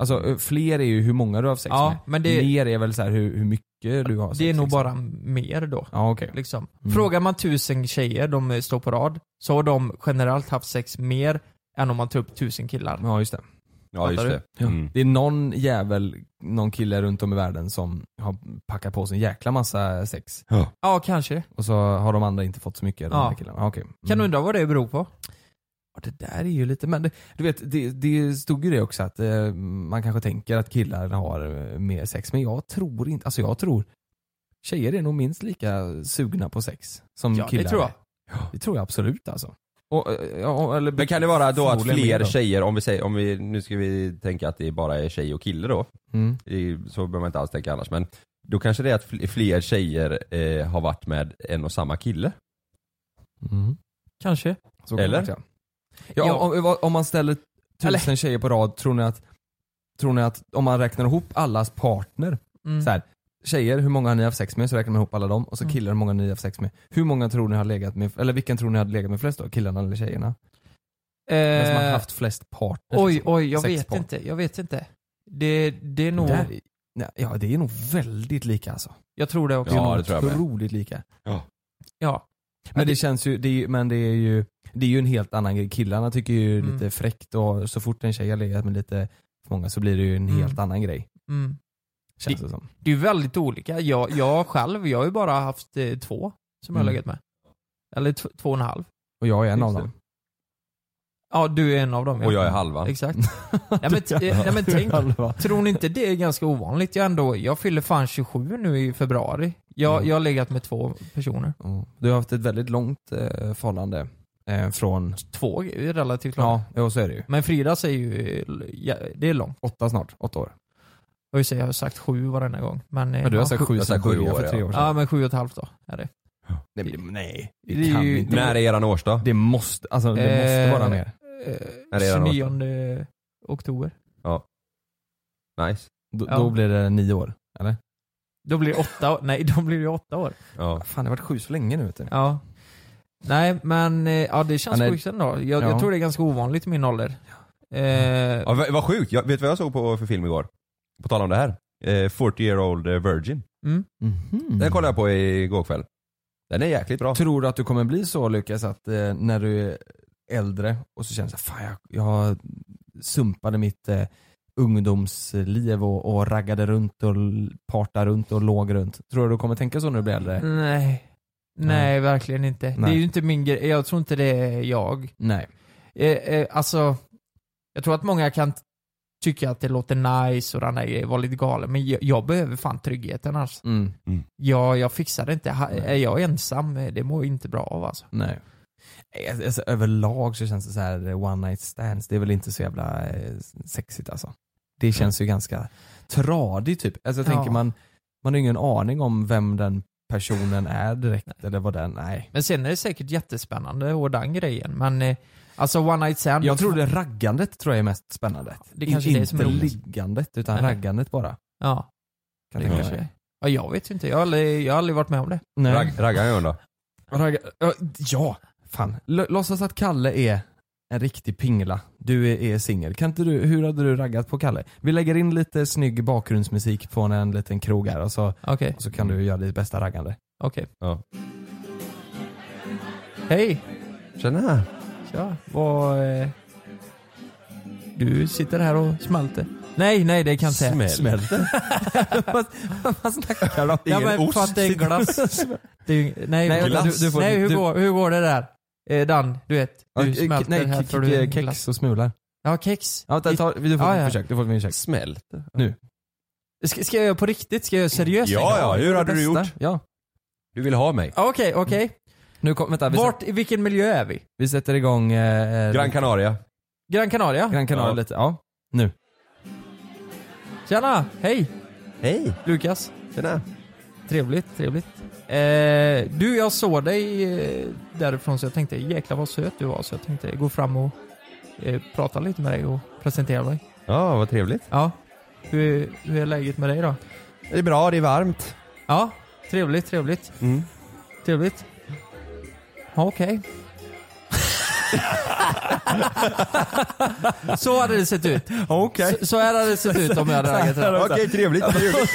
Speaker 9: Alltså eh, fler är ju hur många du har haft sex
Speaker 5: Ja,
Speaker 9: med.
Speaker 5: men det-
Speaker 9: Mer är väl så här hur, hur mycket du har sex
Speaker 5: det är nog
Speaker 9: liksom.
Speaker 5: bara mer då.
Speaker 9: Ja okej.
Speaker 5: Liksom.
Speaker 9: Mm.
Speaker 5: Frågar man tusen tjejer, de eh, står på rad, så har de generellt haft sex mer än om man tar upp tusen killar.
Speaker 9: Ja just det.
Speaker 6: Ja just
Speaker 5: Fattar
Speaker 6: det.
Speaker 9: Ja.
Speaker 6: Mm.
Speaker 9: Det är någon jävel, någon kille runt om i världen som har packat på sig en jäkla massa sex.
Speaker 5: Ja, kanske.
Speaker 9: Och så har de andra inte fått så mycket. De
Speaker 5: Ja.
Speaker 9: här killarna. Ah, okay. mm.
Speaker 5: Kan undra vad det beror på. Och det där är ju lite, men det, du vet, det, det stod ju det också att eh, man kanske tänker att killar har eh, mer sex, men jag tror inte, alltså jag tror tjejer är nog minst lika sugna på sex som
Speaker 1: Ja, det
Speaker 5: killar
Speaker 1: tror
Speaker 5: är. Det tror jag absolut alltså. Och, eh, ja, eller,
Speaker 6: Men kan det vara då att
Speaker 5: förmodligen mer
Speaker 6: fler
Speaker 5: då.
Speaker 6: tjejer, om vi säger, om vi, nu ska vi tänka att det bara är tjej och kille då.
Speaker 5: Mm.
Speaker 6: I- Så behöver man inte alls tänka annars men då kanske det är att fl- fler tjejer eh, har varit med en och samma kille.
Speaker 1: Kanske.
Speaker 5: Så kan
Speaker 6: Eller?
Speaker 5: man säga. Ja,
Speaker 6: Ja.
Speaker 5: Om, om- om man ställer tusen tjejer på rad, tror ni, att, tror ni att om man räknar ihop allas partner,
Speaker 1: Mm.
Speaker 5: så här, tjejer, hur många har ni haft sex med? Så räknar man ihop alla dem. Och så
Speaker 1: Mm.
Speaker 5: killar, hur många har ni haft sex med? Hur många tror ni har legat med, eller vilken tror ni har legat med flest då? Killarna eller tjejerna? Vem som har
Speaker 1: Eh,
Speaker 5: haft flest partners?
Speaker 1: Oj,
Speaker 5: liksom?
Speaker 1: oj, jag
Speaker 5: Sex
Speaker 1: vet
Speaker 5: partners.
Speaker 1: inte. Jag vet inte. Det, det är nog...
Speaker 6: Mm.
Speaker 5: Där- nej, Ja, det är nog väldigt lika alltså.
Speaker 1: Jag tror det också.
Speaker 5: Det är nog otroligt lika.
Speaker 1: Ja.
Speaker 5: Men det, känns ju, det är, ju- men det är ju det är ju en helt annan grej. Killarna tycker ju
Speaker 1: Mm.
Speaker 5: lite fräckt och så fort en tjej har legat med lite för många så blir det ju en
Speaker 1: Mm.
Speaker 5: helt annan grej.
Speaker 1: Mm.
Speaker 5: Känns det, som.
Speaker 1: Det är ju väldigt olika. Jag, jag själv, jag har ju bara haft eh, två som jag har
Speaker 5: Mm.
Speaker 1: legat med. Eller t- två och en halv.
Speaker 5: Och jag är en av
Speaker 1: Just det.
Speaker 5: dem.
Speaker 1: Ja, du är en av dem. ja.
Speaker 6: Och jag är halva.
Speaker 1: Exakt. nej, men, t- eh, nej men tänk, tror ni inte det är ganska ovanligt? Jag, ändå, jag fyller fan 27 nu i februari. Jag, jag har legat med två personer.
Speaker 5: Du har haft ett väldigt långt eh, förhållande eh, från...
Speaker 1: Två är ju relativt långt.
Speaker 5: Ja, jo, så är det ju.
Speaker 1: Men Fridas är ju, eh, l- ja, det är långt.
Speaker 5: Åtta snart, åtta år.
Speaker 1: Jag vill säga, jag har sagt sju varenda gång. Men, eh,
Speaker 5: Men du har
Speaker 1: ja,
Speaker 5: sagt sju
Speaker 6: Jag har
Speaker 5: sen
Speaker 6: sagt sju
Speaker 5: början
Speaker 6: år,
Speaker 5: för tre
Speaker 6: ja.
Speaker 5: år sedan.
Speaker 1: Ja men sju och ett halvt då är det.
Speaker 5: Nej, men nej. Det,
Speaker 1: Det är
Speaker 5: kan
Speaker 1: ju-
Speaker 5: inte.
Speaker 6: När är eran årsdag?
Speaker 5: Det måste, alltså, det måste vara mer.
Speaker 6: När är
Speaker 1: Eh,
Speaker 6: eran årsdag?
Speaker 1: 29 oktober.
Speaker 6: Ja. Nice.
Speaker 5: Då,
Speaker 1: Ja.
Speaker 5: då blir det nio år, eller?
Speaker 1: Då blir det åtta år. Nej, då blir det åtta år.
Speaker 6: Ja.
Speaker 5: Fan, det har varit sju så länge nu vet du.
Speaker 1: Ja. Nej men, eh, ja det känns
Speaker 5: Ja, nej.
Speaker 1: sjukt ändå. Jag,
Speaker 5: Ja.
Speaker 1: jag tror det är ganska ovanligt i min ålder. Eh,
Speaker 6: Ja, vad- vad sjukt, jag, vet du vad jag såg på för film igår? På tal om det här. Eh, 40 year old virgin.
Speaker 1: Mm.
Speaker 6: Den kollade jag på igår kväll. Den är jäkligt bra.
Speaker 5: Tror du att du kommer bli så Lukas att eh, när du är äldre och så känner du så här, fan jag, jag sumpade mitt eh, ungdomsliv och, och raggade runt och l- partade runt och låg runt. Tror du du kommer tänka så när du blir äldre?
Speaker 1: nej. Nej, verkligen inte. Det är
Speaker 5: Nej.
Speaker 1: ju inte min grej. Jag tror inte det är jag.
Speaker 5: Nej.
Speaker 1: Eh, eh, alltså, jag tror att många kan t- tycka att det låter nice och den där grejen, vara lite galen. Men jag, jag behöver fan tryggheten alltså.
Speaker 5: Mm.
Speaker 1: Ja, jag fixar det inte. Ha, är jag ensam, eh, det mår jag inte bra av alltså.
Speaker 5: Nej. Eh, Alltså, överlag så känns det så här eh, one night stands, det är väl inte så jävla eh, sexigt alltså. Det känns ju ganska tradigt typ. Alltså jag
Speaker 1: Mm. Ja.
Speaker 5: tänker man, man har ju ingen aning om vem den personen är direkt eller vad den, nej.
Speaker 1: Men sen är det säkert jättespännande och den grejen. Men eh, alltså one night stand.
Speaker 5: Jag tror det raggandet tror jag är mest spännande.
Speaker 1: Det kanske
Speaker 5: inte
Speaker 1: är det som är roligt.
Speaker 5: liggandet utan
Speaker 1: Nej.
Speaker 5: raggandet bara.
Speaker 1: Ja.
Speaker 5: Kan
Speaker 1: det
Speaker 5: tänka
Speaker 1: kanske
Speaker 5: mig.
Speaker 1: är. Ja, jag vet ju inte. Jag har aldrig, jag har aldrig varit med om det.
Speaker 5: Nej.
Speaker 6: Rag, raggar jag då?
Speaker 5: Ragga, ja, ja, fan. L- låtsas att Kalle är en riktig pingla. Du är, är singel. Kan inte du, hur hade du raggat på Kalle? Vi lägger in lite snygg bakgrundsmusik på en liten krog här och så,
Speaker 1: Okej.
Speaker 5: och så kan du göra ditt bästa raggande.
Speaker 1: Okej.
Speaker 6: Ja.
Speaker 1: Hej!
Speaker 6: Tjena!
Speaker 1: Tja, vad... Eh, du sitter här och smälter. Nej, nej det kan jag inte säga.
Speaker 6: Smälter?
Speaker 1: vad, vad snackar du om? Ja,
Speaker 5: Ingen
Speaker 1: men
Speaker 5: ost
Speaker 1: för att det är en
Speaker 5: sitter-
Speaker 1: glass. Det är, ju- nej,
Speaker 5: Nej,
Speaker 1: vänta,
Speaker 5: glass.
Speaker 1: Du, du får, nej hur,
Speaker 5: du-
Speaker 1: går, hur går det där? Eh, Dan, du vet. Du
Speaker 5: Ja, k-
Speaker 1: smälter
Speaker 5: nej,
Speaker 1: här
Speaker 5: k-
Speaker 1: tror du är en
Speaker 5: kex
Speaker 1: glass.
Speaker 5: och smular.
Speaker 1: Ja, kex.
Speaker 5: Ja, ta, ta, du får
Speaker 1: Ja,
Speaker 5: ett
Speaker 1: ja.
Speaker 5: försök. Du får ett försök.
Speaker 6: Smälter?
Speaker 5: Nu.
Speaker 1: Ska, ska jag göra på riktigt? Ska jag göra seriöst?
Speaker 6: Ja, ja, hur hade du
Speaker 5: Bästa.
Speaker 6: gjort?
Speaker 5: Ja.
Speaker 6: Du vill ha mig?
Speaker 1: Okej, okej.
Speaker 5: Mm. Nu kom, vänta, vi,
Speaker 1: Vart, i vilken miljö är vi?
Speaker 5: vi sätter igång eh,
Speaker 6: Gran Canaria.
Speaker 1: Gran Canaria?
Speaker 5: Gran Canaria
Speaker 1: Ja.
Speaker 5: lite. Ja, nu.
Speaker 1: Tjena, hej!
Speaker 6: Hej!
Speaker 1: Lukas.
Speaker 6: Tjena.
Speaker 1: Trevligt, trevligt. Eh, du, jag såg dig eh, därifrån så jag tänkte jäklar vad söt du var så jag tänkte gå fram och eh, prata lite med dig och presentera dig.
Speaker 6: Ja, vad trevligt.
Speaker 1: Ja. Hur, hur är läget med dig då?
Speaker 6: Det är bra, det är varmt.
Speaker 1: Ja, trevligt, trevligt.
Speaker 6: Mm.
Speaker 1: Trevligt. Ja, Okej. så hade det sett ut.
Speaker 5: Okej.
Speaker 1: Så, så här hade det sett ut om jag hade raggat dig.
Speaker 6: Okej, trevligt. trevligt.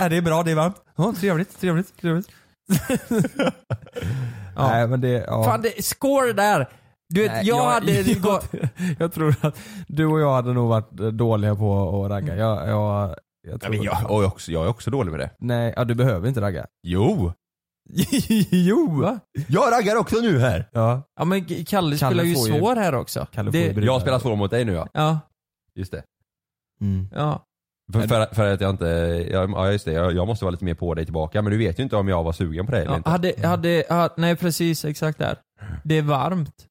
Speaker 5: Ja, det är bra, det är varmt. Ja, trevligt, trevligt, trevligt. ja. Nej men det, ja.
Speaker 1: Fan, det, score där! Du vet,
Speaker 5: Nej,
Speaker 1: jag, hade...
Speaker 5: jag, jag tror att du och jag hade nog varit eh, dåliga på att ragga. Jag, jag, jag
Speaker 6: Mm. Ja,
Speaker 5: tror,
Speaker 6: men jag, och jag, är också, jag är också dålig med det.
Speaker 5: Nej, ja, du behöver inte ragga.
Speaker 6: Jo!
Speaker 5: jo!
Speaker 6: Jag raggar också nu här!
Speaker 5: Ja, ja men K- Kalle spelar ju svår här också. Det-
Speaker 6: Jag spelar svår mot dig nu ja.
Speaker 5: Ja.
Speaker 6: Just det.
Speaker 5: Ja.
Speaker 6: För, för, för att jag inte, ja ja, just det, jag, jag måste vara lite mer på dig tillbaka men du vet ju inte om jag var sugen på dig eller
Speaker 5: ja
Speaker 6: inte.
Speaker 5: hade, hade, ha- nej precis, exakt där. Det är varmt.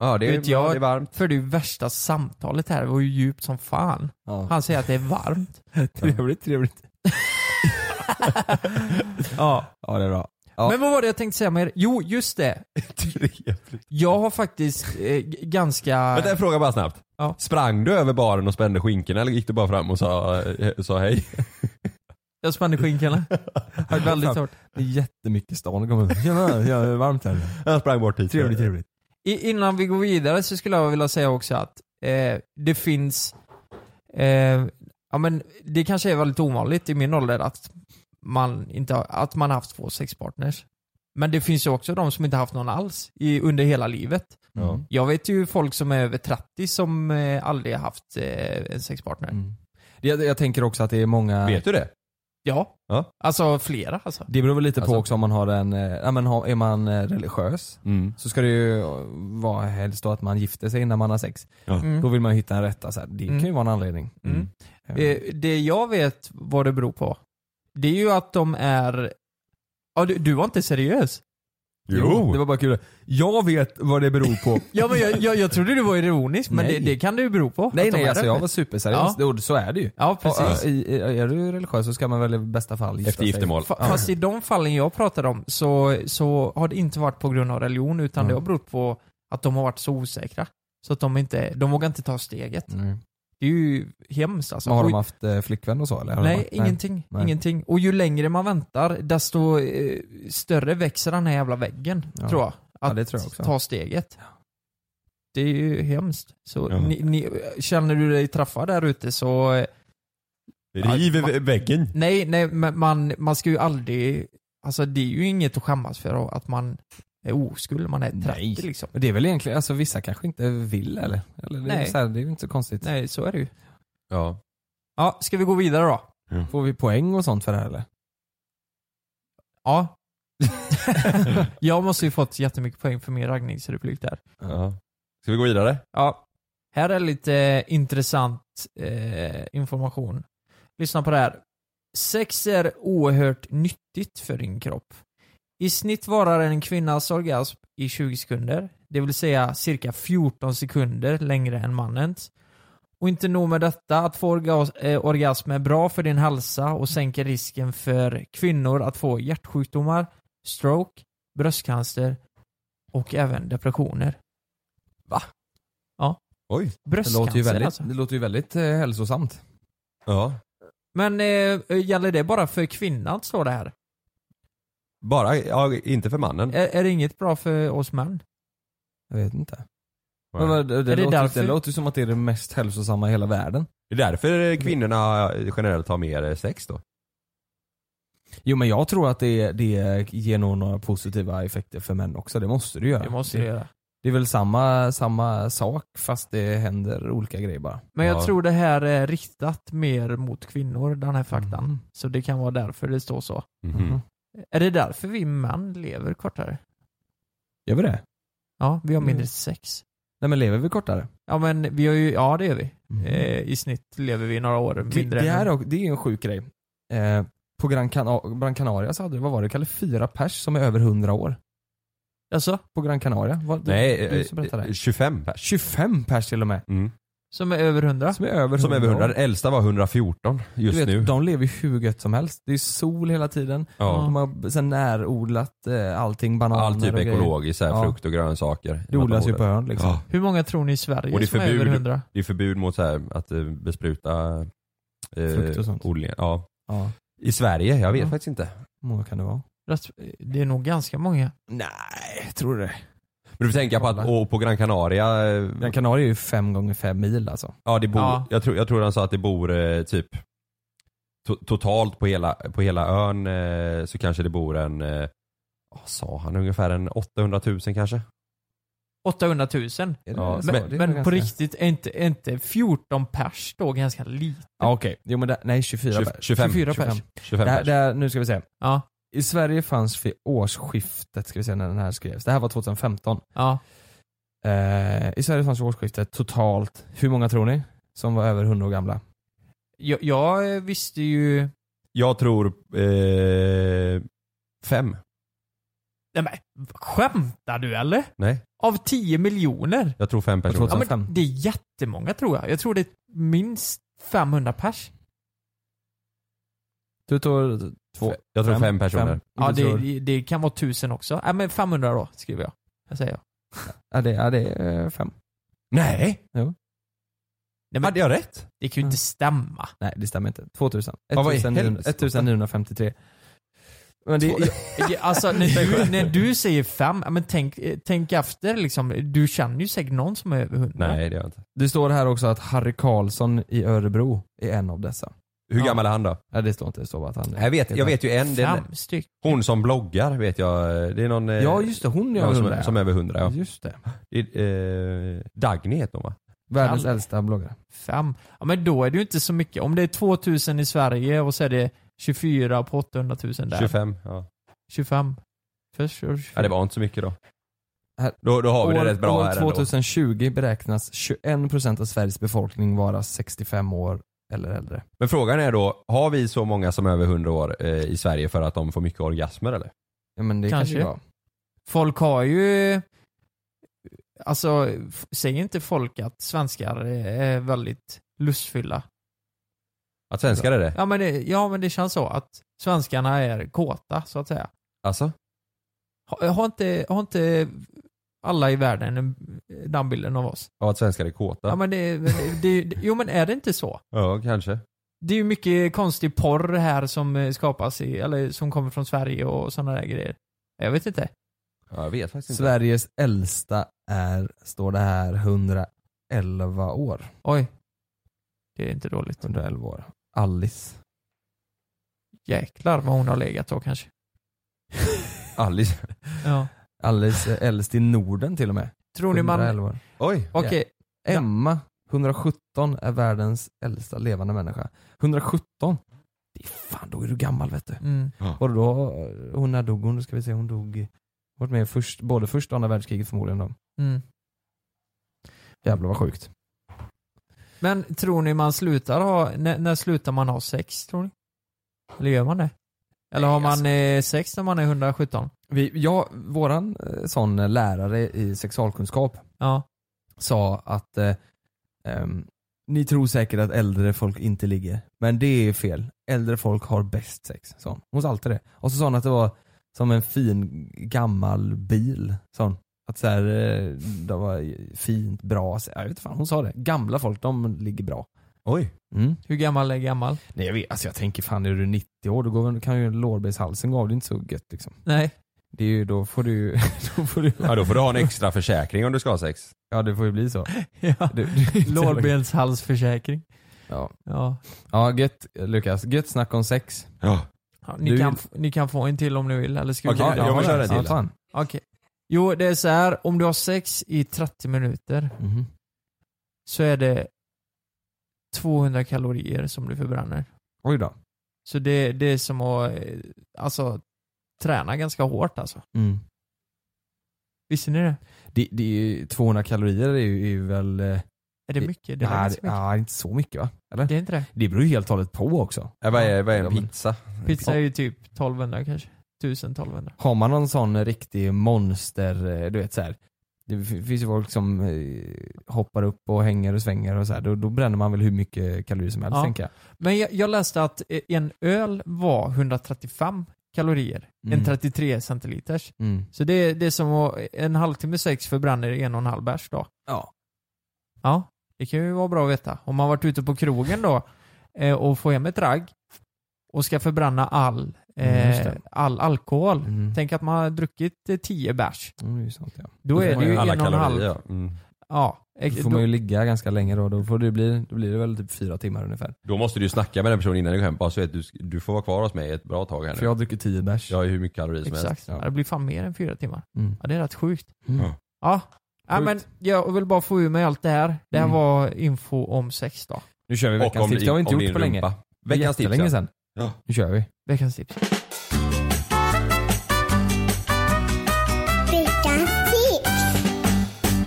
Speaker 6: Ja det är-
Speaker 5: Vet jag,
Speaker 6: ja, det är varmt.
Speaker 5: För det är ju värsta samtalet här, det var ju djupt som fan. Han säger att det är varmt. trevligt, trevligt. ja.
Speaker 4: Ja det är bra.
Speaker 5: Men vad var det jag tänkte säga med er? Jo, just det. jag har faktiskt eh, g- ganska...
Speaker 6: Vänta jag frågar bara snabbt. Sprang du över baren och spände skinkorna eller gick du bara fram och sa, eh, sa hej?
Speaker 5: Jag spände skinkorna. Har väldigt hårt.
Speaker 4: Det är jättemycket stan. Kommer. Tjena, ja, det är varmt här.
Speaker 6: Jag sprang bort hit.
Speaker 4: Trevligt, trevligt.
Speaker 5: I, innan vi går vidare så skulle jag vilja säga också att eh, det finns, eh, ja men det kanske är väldigt ovanligt i min ålder att man inte har, att man har haft två sexpartners. Men det finns ju också de som inte haft någon alls i, under hela livet.
Speaker 4: Ja.
Speaker 5: Jag vet ju folk som är över 30 som eh, aldrig har haft eh, en sexpartner.
Speaker 4: Mm. Det- Jag, jag tänker också att det är många...
Speaker 6: Vet du det?
Speaker 5: Ja.
Speaker 6: ja.
Speaker 5: Alltså flera alltså.
Speaker 4: Det beror väl lite
Speaker 5: Alltså-
Speaker 4: på också om man har en, eh, ja men har- är man eh, religiös
Speaker 6: Mm.
Speaker 4: så ska det ju eh, vara helst då att man gifter sig innan man har sex.
Speaker 6: Ja.
Speaker 5: Mm.
Speaker 4: Då vill man ju hitta en rätta så här. det
Speaker 5: Mm.
Speaker 4: kan ju vara en anledning.
Speaker 5: Mm. Eh, Det jag vet vad det beror på, det är ju att de är... Ja, du, du var inte seriös.
Speaker 6: Oh.
Speaker 4: Det var bara kul. Jag vet vad det beror på.
Speaker 5: Ja, men jag, jag, jag trodde du var ironisk, men det,
Speaker 4: Nej.
Speaker 5: det kan det ju bero på.
Speaker 4: Nej
Speaker 5: att de
Speaker 4: nej
Speaker 5: är
Speaker 4: alltså jag
Speaker 5: öppet.
Speaker 4: var superseriös.
Speaker 5: Ja.
Speaker 4: Ja. Så är det ju.
Speaker 5: Ja, precis.
Speaker 4: Och, eh, i- i- är du religiös så ska man väl i bästa fall gifta sig.
Speaker 5: Fa- Fast i de fallen jag pratar om så, så har det inte varit på grund av religion, utan
Speaker 4: Mm.
Speaker 5: det har berott på att de har varit så osäkra. Så att de inte, de vågar inte ta steget.
Speaker 4: Nej.
Speaker 5: Det är ju hemskt alltså.
Speaker 4: Men Mm. har
Speaker 5: Och-
Speaker 4: de haft eh, flickvän och så eller? Har de
Speaker 5: Nej,
Speaker 4: haft-
Speaker 5: ingenting.
Speaker 4: Nej.
Speaker 5: Ingenting. Och ju längre man väntar, desto eh, större växer den här jävla väggen,
Speaker 4: Ja.
Speaker 5: tror jag. Att
Speaker 4: Ja, det tror jag också.
Speaker 5: ta steget. Det är ju hemskt. Så
Speaker 6: Ja.
Speaker 5: ni, ni, känner du dig träffad där ute så... eh,
Speaker 6: Riv
Speaker 5: ma-
Speaker 6: väggen.
Speaker 5: Nej, nej, men man, man ska ju aldrig... Alltså det är ju inget att skämmas för att man är oskuld, man är 30
Speaker 4: Nej.
Speaker 5: liksom.
Speaker 4: Och Det är väl egentligen, alltså vissa kanske inte vill eller? eller det, är
Speaker 5: Nej.
Speaker 4: så här, det är ju inte så konstigt.
Speaker 5: Nej, så är det ju.
Speaker 6: Ja.
Speaker 5: Ja, ska vi gå vidare då?
Speaker 4: Får vi poäng och sånt för det här eller?
Speaker 5: Ja. jag måste ju fått jättemycket poäng för min raggningsreplik där.
Speaker 6: Ja. Ska vi gå vidare?
Speaker 5: Ja. Här är lite intressant eh, information. Lyssna på det här. Sex är oerhört nyttigt för din kropp. I snitt varar en kvinnas orgasm i 20 sekunder, det vill säga cirka 14 sekunder längre än mannens. Och inte nog med detta, att få orgas- eh, orgasm är bra för din hälsa och sänker risken för kvinnor att få hjärtsjukdomar, stroke, bröstcancer och även depressioner. Va? Ja.
Speaker 6: Oj.
Speaker 4: Det låter ju
Speaker 5: Bröstcancer
Speaker 4: väldigt,
Speaker 5: alltså.
Speaker 4: det låter ju väldigt eh, hälsosamt.
Speaker 6: Ja.
Speaker 5: Men eh, gäller det bara för kvinnan står det här?
Speaker 6: Bara, ja, inte för mannen.
Speaker 5: Är, är det inget bra för oss män?
Speaker 4: Jag vet inte. Men, vad- det,
Speaker 5: Är det
Speaker 4: det, låter,
Speaker 5: därför-
Speaker 4: det låter ju som att det är det mest hälsosamma i hela världen.
Speaker 6: Det är därför kvinnorna generellt har mer eh, sex då.
Speaker 4: Jo men jag tror att det, det ger nog några positiva effekter för män också. Det måste det göra.
Speaker 5: Det måste det göra.
Speaker 4: Det är väl samma, samma sak fast det händer olika grejer bara.
Speaker 5: Men jag tror det här är riktat mer mot kvinnor, den här faktan.
Speaker 4: Mm.
Speaker 5: Så det kan vara därför det står så.
Speaker 4: Mhm.
Speaker 5: Är det därför vi män lever kortare?
Speaker 4: Gör
Speaker 5: Eh,
Speaker 4: vi det?
Speaker 5: Ja, vi har mindre
Speaker 4: Mm.
Speaker 5: sex.
Speaker 4: Nej men lever vi kortare? Mm.
Speaker 5: Ja men vi har ju, ja det gör vi. Eh, I snitt lever vi några år
Speaker 4: Det,
Speaker 5: mindre
Speaker 4: det,
Speaker 5: än
Speaker 4: är, dock- det är en sjuk grej. Eh, på Gran, Cana- Gran Canaria så hade det, vad var det, Kalle, fyra pers som är över 100 år.
Speaker 5: Alltså?
Speaker 4: På Gran Canaria? Var, du,
Speaker 6: Nej,
Speaker 4: du
Speaker 6: eh,
Speaker 4: som berättade det.
Speaker 6: 25 pers.
Speaker 4: 25 pers till och med.
Speaker 5: Som är över 100?
Speaker 4: Som är över 100.
Speaker 6: Som över 100.
Speaker 4: år.
Speaker 6: Den äldsta var 114 just
Speaker 4: du vet,
Speaker 6: nu.
Speaker 4: De lever ju hur gött som helst. Det är sol hela tiden.
Speaker 6: Ja.
Speaker 4: De har sen närodlat eh, allting, bananer
Speaker 6: All typ
Speaker 4: och grejer.
Speaker 6: ekologiskt, så här,
Speaker 4: Ja.
Speaker 6: frukt och grönsaker.
Speaker 4: Det odlas ju på ön liksom.
Speaker 6: Ja.
Speaker 5: Hur många tror ni i Sverige
Speaker 6: Och det är
Speaker 5: som är över
Speaker 6: förbud,
Speaker 5: 100?
Speaker 6: det är förbud mot så här, att eh, bespruta eh,
Speaker 4: Frukt och sånt.
Speaker 6: odlingar. Ja.
Speaker 4: Ja.
Speaker 6: I Sverige? Jag vet
Speaker 5: Ja.
Speaker 6: faktiskt inte.
Speaker 4: Hur många kan det vara?
Speaker 5: Rätt- Det är nog ganska många.
Speaker 4: Nej, tror du det?
Speaker 6: Men du får tänka på att och på Gran Canaria, eh,
Speaker 4: Gran Canaria är ju fem gånger fem mil alltså.
Speaker 6: ja, det bor,
Speaker 4: Ja.
Speaker 6: Jag, tror, jag tror han sa att det bor eh, typ to, totalt på hela, på hela ön eh, så kanske det bor en, eh, vad sa han, ungefär en 800 000 kanske?
Speaker 5: 800 000?
Speaker 6: Ja, så?
Speaker 5: men
Speaker 6: Alltså, Det är
Speaker 5: men
Speaker 6: nog
Speaker 5: på
Speaker 6: ganska-
Speaker 5: riktigt, är inte, är inte 14 pers då ganska lite?
Speaker 4: Ja, Okej, jo men det, nej 24
Speaker 6: Tjugo- 25,
Speaker 4: 24 pers.
Speaker 6: 25
Speaker 4: det, här-
Speaker 6: pers.
Speaker 4: det här, nu ska vi se.
Speaker 5: Ja.
Speaker 4: I Sverige fanns vid årsskiftet, ska vi se när den här skrevs, det här var 2015. Eh, I Sverige fanns vid årsskiftet totalt, hur många tror ni? Som var över 100 år gamla?
Speaker 5: Jag, jag eh, visste ju...
Speaker 6: Jag tror eh, fem.
Speaker 5: Nej men, skämtar du eller?
Speaker 6: Nej,
Speaker 5: Av 10 miljoner?
Speaker 6: jag tror fem personer.
Speaker 5: Ja, men det är jättemånga tror jag. Jag tror det är minst 500 pers.
Speaker 4: Du tror två?
Speaker 6: Jag tror fem personer.
Speaker 5: Ja,
Speaker 4: Du tror-
Speaker 5: det, det kan vara 1000 också. Nej men 500 då, skriver jag. Jag säger jag.
Speaker 4: Ja, det, ja, det är eh, fem.
Speaker 6: Nej!
Speaker 4: Jo.
Speaker 5: Nej, men,
Speaker 6: Hade jag rätt?
Speaker 5: Det kan ju inte stämma.
Speaker 4: Nej, det stämmer inte. 2000.
Speaker 6: Ja, vad i
Speaker 4: 1900
Speaker 6: helvete?
Speaker 4: 1953. Men det,
Speaker 5: Det- Alltså när du, när du säger fem, ja, men tänk, eh, tänk efter liksom. Du känner ju säkert någon som är över 100.
Speaker 6: Nej, det gör jag inte.
Speaker 4: det står här också att Harry Karlsson i Örebro är en av dessa.
Speaker 6: Hur gammal är han då?
Speaker 4: Ja, det står inte. Det står bara att han är.
Speaker 6: Jag vet, jag vet ju en. Det är,
Speaker 5: Fem stycken.
Speaker 6: hon som bloggar vet jag. Det är någon... eh,
Speaker 4: Ja, just det. Hon är
Speaker 6: någon
Speaker 4: över
Speaker 6: som,
Speaker 4: 100, ja.
Speaker 6: som är över 100 ja.
Speaker 4: Just det.
Speaker 6: Det är, eh, Dagny heter hon va?
Speaker 4: Världens
Speaker 5: Alltså.
Speaker 4: äldsta bloggare.
Speaker 5: Fem. Ja men då är det ju inte så mycket. Om det är 2000 i Sverige och så är det 24 på 800 000 där.
Speaker 6: 25. Ja.
Speaker 5: 25. Först kör du 25.
Speaker 6: ja, det var inte så mycket då.
Speaker 4: Här.
Speaker 6: Då, då har vi det
Speaker 4: År-
Speaker 6: rätt bra
Speaker 4: År
Speaker 6: här ändå.
Speaker 4: 2020 beräknas 21% av Sveriges befolkning vara 65 år eller äldre.
Speaker 6: Men frågan är då, har vi så många som är över 100 år eh, i Sverige för att de får mycket orgasmer eller?
Speaker 4: Ja men det kanske,
Speaker 5: Kanske.
Speaker 4: kanske var.
Speaker 5: Folk har ju... Alltså, f- säger inte folk att svenskar är väldigt lustfyllda?
Speaker 6: Att svenskar är det?
Speaker 5: Ja men det, ja, men det känns så att svenskarna är kåta, så att säga.
Speaker 6: Alltså?
Speaker 5: Har, har, inte, har inte alla i världen en- den bilden av oss?
Speaker 6: Av att svenskar är kåta?
Speaker 5: Ja, men det, det, det, jo men är det inte så?
Speaker 6: Ja, kanske.
Speaker 5: Det är ju mycket konstig porr här som eh, skapas i, eller som kommer från Sverige och sådana där grejer. Jag vet inte.
Speaker 6: Ja, jag vet faktiskt inte.
Speaker 4: Sveriges äldsta är, står det här, 111 år.
Speaker 5: Oj. Det är inte dåligt.
Speaker 4: 111 år. Alice.
Speaker 5: Jäklar vad hon har legat då kanske.
Speaker 6: Alice.
Speaker 5: Ja.
Speaker 4: Alice är äldst i Norden till och med.
Speaker 5: Tror ni man...
Speaker 4: 111 år.
Speaker 6: Oj.
Speaker 5: Okej,
Speaker 4: Emma, 117, är världens äldsta levande människa. 117? Det är fan, då är du gammal vet du.
Speaker 5: mm.
Speaker 4: Och då, hon när dog hon? Då ska vi se, hon dog, varit med först, både första och andra världskriget förmodligen då.
Speaker 5: Mm.
Speaker 4: Jävlar vad sjukt.
Speaker 5: Men tror ni man slutar ha, när, när slutar man ha sex tror ni? Eller gör man det? Eller har man eh, sex när man är 117?
Speaker 4: Vi, jag, våran eh, sån lärare i sexualkunskap
Speaker 5: Ja.
Speaker 4: sa att eh, ehm, ni tror säkert att äldre folk inte ligger, men det är fel. Äldre folk har bäst sex, sa hon. Hon sa alltid det. Och så sa hon att det var som en fin gammal bil, sa hon. Att så här, eh, det var fint, bra, se- jag vet inte fan, hon sa det. Gamla folk, de ligger bra.
Speaker 6: Oj.
Speaker 4: Mm.
Speaker 5: Hur gammal är gammal?
Speaker 4: Nej jag vet, alltså jag tänker fan är du 90 år, då går, väl- kan ju lårbenshalsen gå av, det är inte så gött liksom.
Speaker 5: Nej.
Speaker 4: Det är ju, då får du ju- då får du
Speaker 6: Ja, då får du ha en extra försäkring om du ska ha sex.
Speaker 4: Ja det får ju bli så.
Speaker 5: Ja.
Speaker 4: Du- du-
Speaker 5: Lårbenshalsförsäkring.
Speaker 4: Ja.
Speaker 5: Ja.
Speaker 4: ja, gött Lukas. Gött snack om sex.
Speaker 6: Ja.
Speaker 5: Ja, ni,
Speaker 4: Du-
Speaker 5: kan, ni kan få en till om ni vill, eller ska vi
Speaker 6: Okej,
Speaker 5: ta
Speaker 6: jag
Speaker 5: den?
Speaker 6: vill köra en
Speaker 4: Ja,
Speaker 6: till.
Speaker 4: fan.
Speaker 5: Okej. Jo, det är så här. om du har sex i 30 minuter
Speaker 4: Mhm.
Speaker 5: så är det 200 kalorier som du förbränner.
Speaker 4: Oj då.
Speaker 5: Så det, det är som att eh, alltså, träna ganska hårt alltså.
Speaker 4: Mm.
Speaker 5: Visste ni det?
Speaker 4: Det, det är ju, 200 kalorier är ju, är ju väl... eh,
Speaker 5: Är det
Speaker 4: Det-
Speaker 5: mycket? Det är
Speaker 4: nej,
Speaker 5: väl inte så mycket?
Speaker 4: nej, inte så mycket va? Eller?
Speaker 5: Det är inte det?
Speaker 4: Det beror ju helt och hållet på också.
Speaker 6: Ja, vad, är, vad är
Speaker 4: Ja,
Speaker 6: en
Speaker 4: men-
Speaker 6: pizza?
Speaker 5: Pizza är ju typ 1200 kanske. 1000 1200.
Speaker 4: Har man någon sån riktig monster, eh, du vet så här. Det f- finns ju folk som eh, hoppar upp och hänger och svänger och så här. Då, då bränner man väl hur mycket kalorier som helst
Speaker 5: Ja.
Speaker 4: tänker jag.
Speaker 5: Men jag, jag läste att eh, en öl var 135 kalorier.
Speaker 4: Mm.
Speaker 5: En 33 centiliters.
Speaker 4: Mm.
Speaker 5: Så det, är- det är som att en halvtimme sex förbränner en och en halv bärs då.
Speaker 4: Ja.
Speaker 5: Ja, det kan ju vara bra att veta. Om man varit ute på krogen då eh, och får hem ett ragg och ska förbränna all,
Speaker 4: Mm, just
Speaker 5: eh,
Speaker 4: det.
Speaker 5: all alkohol.
Speaker 4: Mm.
Speaker 5: Tänk att man har druckit eh, 10 bärs.
Speaker 4: Mm, det är ju sant, ja.
Speaker 5: Då är det ju
Speaker 6: alla
Speaker 5: en och en halv.
Speaker 6: kalorier. ja. Mm.
Speaker 5: Ja,
Speaker 4: Då
Speaker 5: ex-
Speaker 4: får man ju ligga ganska länge då. Då, får det bli, då blir det väl typ fyra timmar ungefär.
Speaker 6: Då måste du ju snacka med den personen innan du går hem bara så att du, du får vara kvar hos mig ett bra tag här
Speaker 4: För
Speaker 6: nu.
Speaker 4: jag dricker tio bärs.
Speaker 6: Jag har ju hur mycket kalorier som helst.
Speaker 5: Exakt. Ja. Det blir fan mer än fyra timmar.
Speaker 4: Mm.
Speaker 5: Ja, det är rätt sjukt.
Speaker 4: Mm.
Speaker 5: Ja. Ja,
Speaker 4: Sjukt.
Speaker 5: men jag vill bara få ur mig allt det här. Det här
Speaker 4: Mm.
Speaker 5: var info om sex då.
Speaker 4: Nu kör vi veckans tips. Det har vi inte
Speaker 6: om
Speaker 4: gjort
Speaker 6: din
Speaker 4: på länge.
Speaker 6: rumpa.
Speaker 4: Det är
Speaker 6: Veckans tips
Speaker 4: jättelänge
Speaker 6: ja.
Speaker 4: sedan.
Speaker 6: Ja.
Speaker 4: Nu kör vi.
Speaker 5: Veckans tips.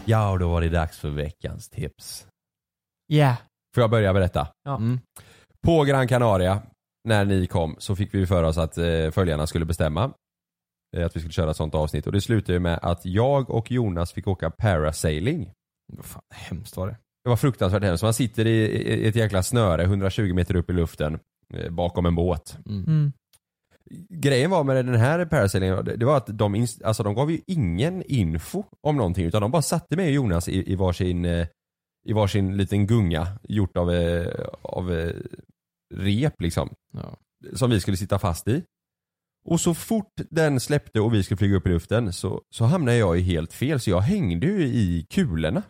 Speaker 6: Ja, och då var det dags för veckans tips.
Speaker 5: Ja.
Speaker 6: Får jag börja berätta?
Speaker 5: Ja.
Speaker 6: På Gran Canaria, när ni kom, så fick vi ju för oss att eh, följarna skulle bestämma eh, att vi skulle köra ett sånt avsnitt. Och det slutade ju med att jag och Jonas fick åka parasailing.
Speaker 4: Vad fan, hemskt var det.
Speaker 6: Det var fruktansvärt hemskt. Man sitter i i ett jäkla snöre 120 meter upp i luften eh, bakom en båt.
Speaker 5: Mm.
Speaker 6: Grejen var med den här parasailingen, det det var att de, ins- alltså de gav ju ingen info om någonting utan de bara satte mig och Jonas i, i, varsin, eh, i varsin liten gunga gjort av, eh, av eh, rep liksom. Som vi skulle sitta fast i. Och så fort den släppte och vi skulle flyga upp i luften så, så hamnade jag i helt fel så jag hängde ju i kulorna.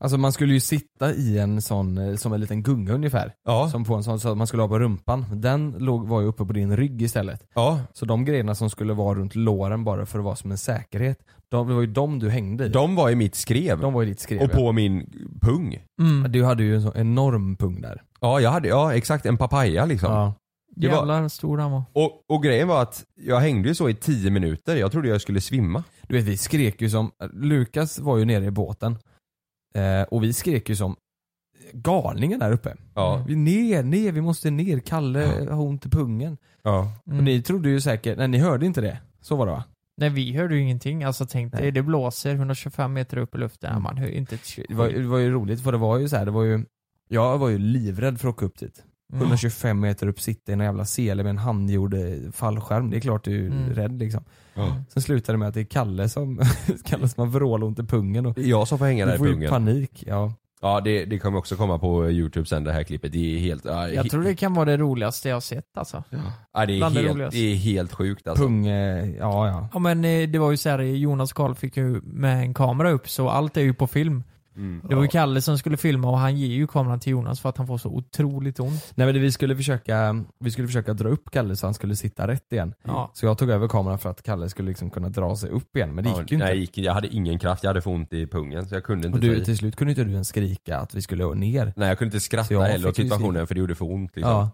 Speaker 4: Alltså man skulle ju sitta i en sån, eh, som en liten gunga ungefär. Som på en sån, så att man skulle ha på rumpan. Den låg, var ju uppe på din rygg istället.
Speaker 6: Ja.
Speaker 4: Så de grejerna som skulle vara runt låren bara för att vara som en säkerhet. De, det var ju de du hängde i.
Speaker 6: De var i mitt skrev.
Speaker 4: De var i ditt skrev
Speaker 6: Och
Speaker 4: ja.
Speaker 6: på min pung.
Speaker 5: Mm.
Speaker 4: Du hade ju en sån enorm pung där.
Speaker 6: Ja, jag hade, ja exakt en papaya liksom. Det var,
Speaker 5: Jävlar stor han var.
Speaker 6: och, och grejen var att jag hängde ju så i tio minuter. Jag trodde jag skulle svimma.
Speaker 4: Du vet vi skrek ju som, Lukas var ju nere i båten. Eh, och vi skrek ju som galningar där uppe.
Speaker 6: Ja.
Speaker 4: Vi ner, ner, vi måste ner. Kalle har ont i pungen.
Speaker 6: Ja.
Speaker 4: Och ni trodde ju säkert, nej ni hörde inte det. Så var det va?
Speaker 5: Nej vi hörde ju ingenting. Alltså tänk dig,
Speaker 4: Nej. Mm.
Speaker 5: det blåser 125 meter upp i luften. Man hör ju inte ett skit.
Speaker 4: Det var, det var ju roligt för det var ju så här, det var ju, jag var ju livrädd för att åka upp dit.
Speaker 5: Mm.
Speaker 4: 125 meter upp sitter i en jävla sele med en handgjord eh, fallskärm. Det är klart du är
Speaker 5: Mm.
Speaker 4: rädd liksom.
Speaker 6: Ja.
Speaker 4: Sen slutar det med att det är Kalle som, Kalle som har vrålont i pungen. Och
Speaker 6: Det är jag som får hänga
Speaker 4: du
Speaker 6: där i
Speaker 4: får ju
Speaker 6: pungen.
Speaker 4: panik. Ja.
Speaker 6: Ja, det, det kommer också komma på youtube sen det här klippet. Det är helt, ja, he,
Speaker 5: Jag tror det kan vara det roligaste jag har sett alltså. Ja,
Speaker 6: ja, det, är
Speaker 5: bland det
Speaker 6: helt
Speaker 5: roligaste.
Speaker 6: det är helt sjukt alltså.
Speaker 4: Pung, eh, ja ja.
Speaker 5: men eh, det var ju så här, Jonas Karl fick ju med en kamera upp så allt är ju på film.
Speaker 4: Mm.
Speaker 5: Det var ju Kalle som skulle filma och han ger ju kameran till Jonas för att han får så otroligt ont.
Speaker 4: Nej men det, vi skulle, försöka, vi skulle försöka dra upp Kalle så han skulle sitta rätt igen.
Speaker 5: Ja.
Speaker 4: Så jag tog över kameran för att Kalle skulle liksom kunna dra sig upp igen men det
Speaker 6: Ja,
Speaker 4: gick ju inte.
Speaker 6: nej, gick, jag hade ingen kraft, jag hade för ont i pungen så jag kunde inte
Speaker 4: Och
Speaker 6: ta
Speaker 4: du,
Speaker 6: i.
Speaker 4: till slut kunde inte du ens skrika att vi skulle ner.
Speaker 6: Nej, jag kunde inte
Speaker 4: Så
Speaker 6: skratta
Speaker 4: jag
Speaker 6: heller åt
Speaker 4: fick ju
Speaker 6: situationen
Speaker 4: skrika.
Speaker 6: för det gjorde för ont. Liksom.
Speaker 4: Ja.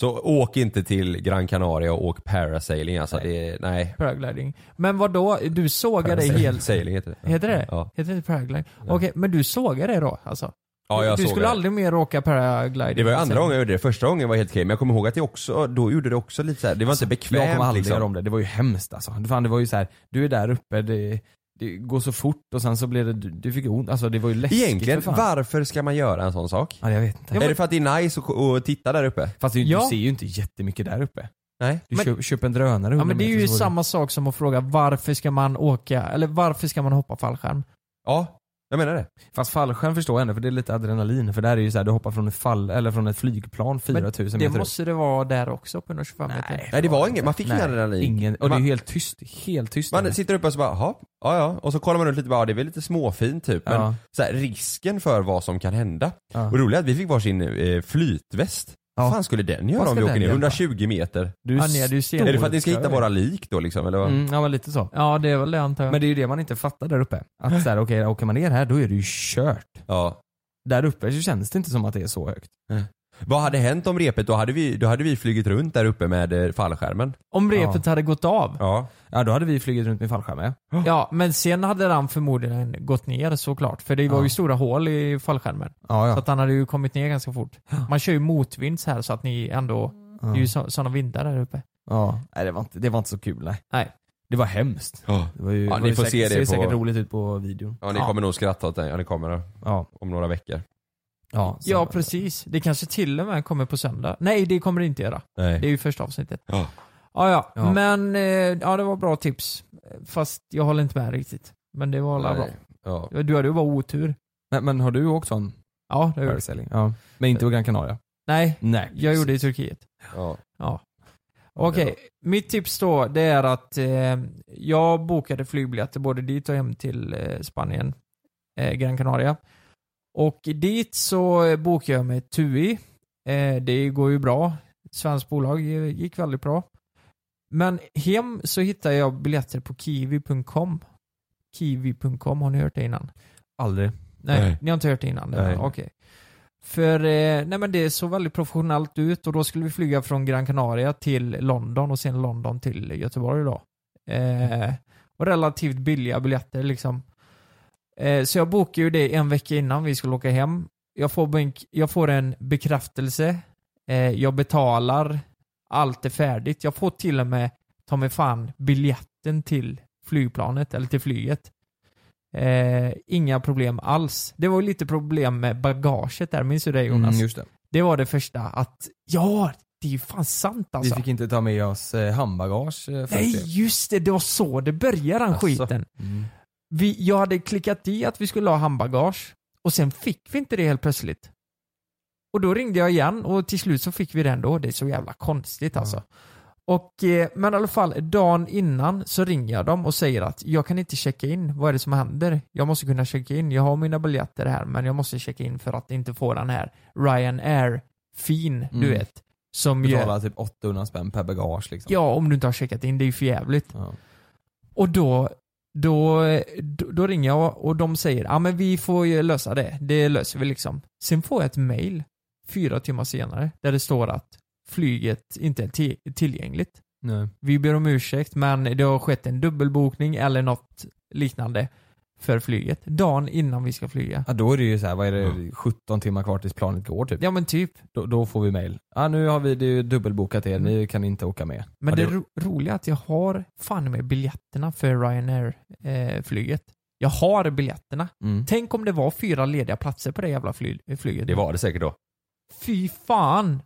Speaker 6: Så åk inte till Gran Canaria och åk parasailing alltså. Nej. Det, nej.
Speaker 5: Paragliding. Men vad då? Du sågade dig
Speaker 6: Parasailing.
Speaker 5: helt...
Speaker 6: Sailing heter det.
Speaker 5: Heter det
Speaker 6: Ja.
Speaker 5: Heter det inte paragliding? Okej, men du sågade det då alltså?
Speaker 6: Ja, jag
Speaker 5: du
Speaker 6: sågade
Speaker 5: skulle
Speaker 6: det.
Speaker 5: aldrig mer åka paragliding? Alltså,
Speaker 6: Det var ju
Speaker 5: sen.
Speaker 6: andra gången jag gjorde det, första gången var helt okej men jag kommer ihåg att jag också, då gjorde det också lite så här. det var inte bekvämt
Speaker 4: jag kommer aldrig
Speaker 6: liksom.
Speaker 4: göra Alltså, om det, det var ju hemskt alltså. Fan, det var ju så här, du är där uppe, det, det går så fort och sen så blev det, du, du fick ont. Alltså det var ju läskigt
Speaker 6: Egentligen,
Speaker 4: för fan.
Speaker 6: varför ska man göra en sån sak?
Speaker 4: Ja, jag vet inte.
Speaker 6: Är det för att det är nice att att titta där uppe?
Speaker 4: Fast du,
Speaker 5: Ja.
Speaker 4: du ser ju inte jättemycket där uppe.
Speaker 6: Nej.
Speaker 4: Du
Speaker 5: Men-
Speaker 4: köp, köper en drönare
Speaker 5: Ja
Speaker 4: 100
Speaker 5: men det är
Speaker 4: meter
Speaker 5: ju
Speaker 4: så var
Speaker 5: samma sak som att fråga varför ska man åka, eller varför ska man hoppa fallskärm?
Speaker 6: Ja, jag menar det.
Speaker 4: Fast fallskärm förstår jag ändå för det är lite adrenalin för där är ju så här, du hoppar från ett fall, eller från ett flygplan 4000
Speaker 5: det
Speaker 4: meter upp.
Speaker 5: måste det vara där också på 125 meter.
Speaker 6: Nej det var inget, man fick ingen
Speaker 4: Nej,
Speaker 6: adrenalin.
Speaker 4: Ingen, och det är
Speaker 6: Man-
Speaker 4: ju helt tyst, helt tyst. där.
Speaker 6: Man sitter uppe och så bara, jaha, ja ja. Och så kollar man runt lite, bara, ja, det är väl lite småfint typ. Men
Speaker 4: Ja.
Speaker 6: så här, risken för vad som kan hända.
Speaker 4: Ja.
Speaker 6: Och roligt att vi fick varsin eh, flytväst. Vad fan skulle den göra
Speaker 4: Vad
Speaker 6: om vi
Speaker 4: ska
Speaker 6: åker
Speaker 4: den
Speaker 6: ner?
Speaker 4: göra?
Speaker 6: 120 meter?
Speaker 4: Du är Ja, ni hade ju stor-
Speaker 6: är det för att ni ska hitta våra lik då liksom? Eller vad?
Speaker 4: Mm, ja, men lite så.
Speaker 5: Ja det är väl det antar jag.
Speaker 4: Men det är ju det man inte fattar där uppe. Att så här, okej, åker man ner här då är det ju kört.
Speaker 6: Ja.
Speaker 4: Där uppe så känns det inte som att det är så högt.
Speaker 6: Vad hade hänt om repet, då hade, vi, då hade vi flugit runt där uppe med eh, fallskärmen.
Speaker 5: Om repet hade gått av,
Speaker 6: Ja.
Speaker 4: Ja, då hade vi flugit runt med fallskärm ja.
Speaker 5: ja men sen hade han förmodligen gått ner såklart. För det var ju stora hål i fallskärmen.
Speaker 4: Ja, ja.
Speaker 5: Så att han hade ju kommit ner ganska fort. Man kör ju motvind så här så att ni ändå,
Speaker 4: Ja.
Speaker 5: det är ju sådana vindar där uppe.
Speaker 4: Ja, nej, det, var inte, det var inte så kul nej.
Speaker 5: Nej.
Speaker 4: Det var hemskt.
Speaker 6: Ja.
Speaker 4: Det var ju,
Speaker 6: Ja,
Speaker 4: var
Speaker 6: ni
Speaker 4: ju
Speaker 6: får
Speaker 4: säkert,
Speaker 6: se det
Speaker 4: ser
Speaker 6: på-
Speaker 4: säkert roligt ut på videon.
Speaker 6: Ja ni kommer nog skratta åt den, ja ni kommer det.
Speaker 4: Ja.
Speaker 6: Om några veckor.
Speaker 4: Ja, så-
Speaker 5: Ja precis. Det kanske till och med kommer på söndag. Nej det kommer det inte göra.
Speaker 6: Nej.
Speaker 5: Det är ju första avsnittet.
Speaker 6: Ja.
Speaker 5: Ja, ja.
Speaker 6: Ja.
Speaker 5: men eh, ja, det var bra tips. Fast jag håller inte med riktigt. Men det var alla bra.
Speaker 6: Ja.
Speaker 5: Ja, Du hade ju bara otur.
Speaker 4: Men, men har du åkt sån?
Speaker 5: Ja, det har jag gjort.
Speaker 4: Parasailing? Ja. Men inte på Gran Canaria?
Speaker 5: Nej,
Speaker 4: Nej.
Speaker 5: jag gjorde det i Turkiet.
Speaker 6: Ja.
Speaker 5: Ja. Okej, mitt tips då det är att eh, jag bokade flygbiljetter både dit och hem till eh, Spanien, eh, Gran Canaria. Och dit så eh, bokade jag med TUI. Eh, det går ju bra. Svenskt bolag eh, gick väldigt bra. Men hem så hittade jag biljetter på kiwi.com. Kiwi.com, har ni hört det innan?
Speaker 4: Aldrig.
Speaker 5: Nej,
Speaker 4: Nej.
Speaker 5: ni har inte hört det innan?
Speaker 4: Nej.
Speaker 5: Nej. Okej. För eh, nej men det såg väldigt professionellt ut och då skulle vi flyga från Gran Canaria till London och sen London till Göteborg då. Eh, och relativt billiga biljetter liksom. Eh, så jag bokade ju det en vecka innan vi skulle åka hem. Jag får, bänk, jag får en bekräftelse. Eh, jag betalar. Allt är färdigt. Jag får till och med, ta mig fan, biljetten till flygplanet, eller till flyget. Eh, inga problem alls. Det var ju lite problem med bagaget där, minns du det Jonas?
Speaker 6: Mm, just det.
Speaker 5: det var det första att, ja, det är ju fan sant alltså.
Speaker 6: Vi fick inte ta med oss eh, handbagage eh, för
Speaker 5: Nej
Speaker 6: det.
Speaker 5: just det, det var så det började den
Speaker 6: Alltså.
Speaker 5: skiten. Vi, jag hade klickat i att vi skulle ha handbagage och sen fick vi inte det helt plötsligt. Och då ringde jag igen och till slut så fick vi det ändå. Det är så jävla konstigt alltså. Och, eh, men i alla fall, dagen innan så ringer jag dem och säger att jag kan inte checka in. Vad är det som händer? Jag måste kunna checka in. Jag har mina biljetter här men jag måste checka in för att inte få den här Ryanair-fin, du
Speaker 6: Mm.
Speaker 5: vet. Som gör-
Speaker 6: Betala typ 800 spänn per bagage liksom.
Speaker 5: Ja, om du inte har checkat in. Det är ju för jävligt. Och då, då, då, då ringer jag och de säger ja ah, men vi får ju lösa det. Det löser vi liksom. Sen får jag ett mail fyra timmar senare där det står att flyget inte är ti- tillgängligt.
Speaker 6: Nej.
Speaker 5: Vi ber om ursäkt men det har skett en dubbelbokning eller något liknande för flyget. Dagen innan vi ska flyga.
Speaker 6: Ja, då är det ju så här, vad är det, 17 timmar kvar tills planet går typ.
Speaker 5: Ja men typ.
Speaker 6: Då, då får vi mail. Ja nu har vi det är ju dubbelbokat er, ni kan inte åka med.
Speaker 5: Men
Speaker 6: Mm. ja,
Speaker 5: det, ro roliga är att jag har fan med biljetterna för Ryanair-flyget. jag har biljetterna. Tänk om det var fyra lediga platser på det jävla fly flyget.
Speaker 11: Det var det säkert då.
Speaker 5: Fy fan!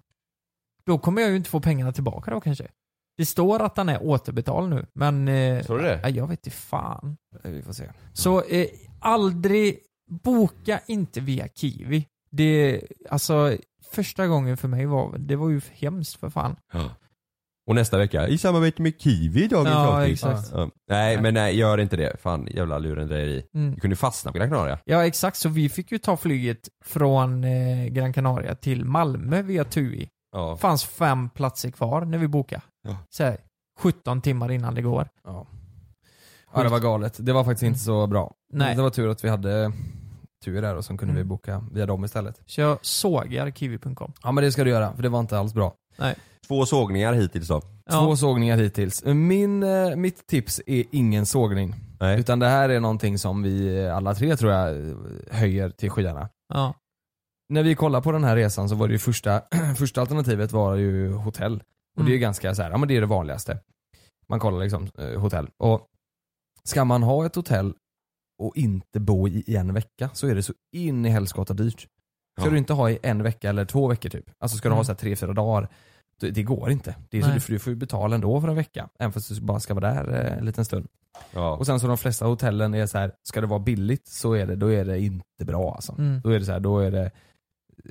Speaker 5: Då kommer jag ju inte få pengarna tillbaka då kanske. Det står att den är återbetald nu, men... Eh,
Speaker 11: Tror du det?
Speaker 5: ja, Jag vet inte fan.
Speaker 6: Vi får se.
Speaker 5: Så eh, aldrig, boka inte via Kiwi. Det, alltså, första gången för mig var, det var ju hemskt för fan.
Speaker 11: Och nästa vecka, i samarbete med Kiwi dagens
Speaker 5: Ja,
Speaker 11: avsnitt.
Speaker 5: exakt.
Speaker 11: Ja. Nej men nej, gör inte det. Fan jävla lurendrejeri.
Speaker 5: Mm.
Speaker 11: Du kunde fastna på Gran Canaria.
Speaker 5: Ja exakt, så vi fick ju ta flyget från eh, Gran Canaria till Malmö via TUI.
Speaker 11: Ja.
Speaker 5: fanns fem platser kvar när vi bokade.
Speaker 11: Ja.
Speaker 5: Så här, 17 timmar innan det går.
Speaker 6: Ja. Ja, det var galet. Det var faktiskt inte så bra.
Speaker 5: Nej.
Speaker 6: Det var tur att vi hade tur där och så kunde
Speaker 5: Mm.
Speaker 6: vi boka via dem istället.
Speaker 5: Så jag sågar kiwi.com.
Speaker 6: Ja men det ska du göra, för det var inte alls bra.
Speaker 5: Nej.
Speaker 11: Två sågningar hittills då.
Speaker 6: Två sågningar hittills. Min, eh, mitt tips är ingen sågning. Utan det här är någonting som vi eh, alla tre tror jag eh, höjer till skyarna.
Speaker 5: Ja.
Speaker 6: När vi kollade på den här resan så var det ju första, första alternativet var ju hotell. Och
Speaker 11: Mm.
Speaker 5: Mm.
Speaker 6: det är ju ganska så här, ja men det är det vanligaste. Man kollar liksom eh, hotell. Och ska man ha ett hotell och inte bo i, i en vecka så är det så in i helskotta dyrt. Ska
Speaker 11: Ja.
Speaker 6: du inte ha i en vecka eller två veckor typ. Alltså ska du ha
Speaker 11: Mm.
Speaker 6: så här tre, fyra dagar. Det, det går inte. Det är så
Speaker 11: Nej.
Speaker 6: du, för du får ju betala ändå för en vecka. Även fast du bara ska vara där eh, en liten stund. Och sen så de flesta hotellen är så här, ska det vara billigt så är det, då är det inte bra alltså.
Speaker 5: Mm.
Speaker 6: Då är det så här, då är det,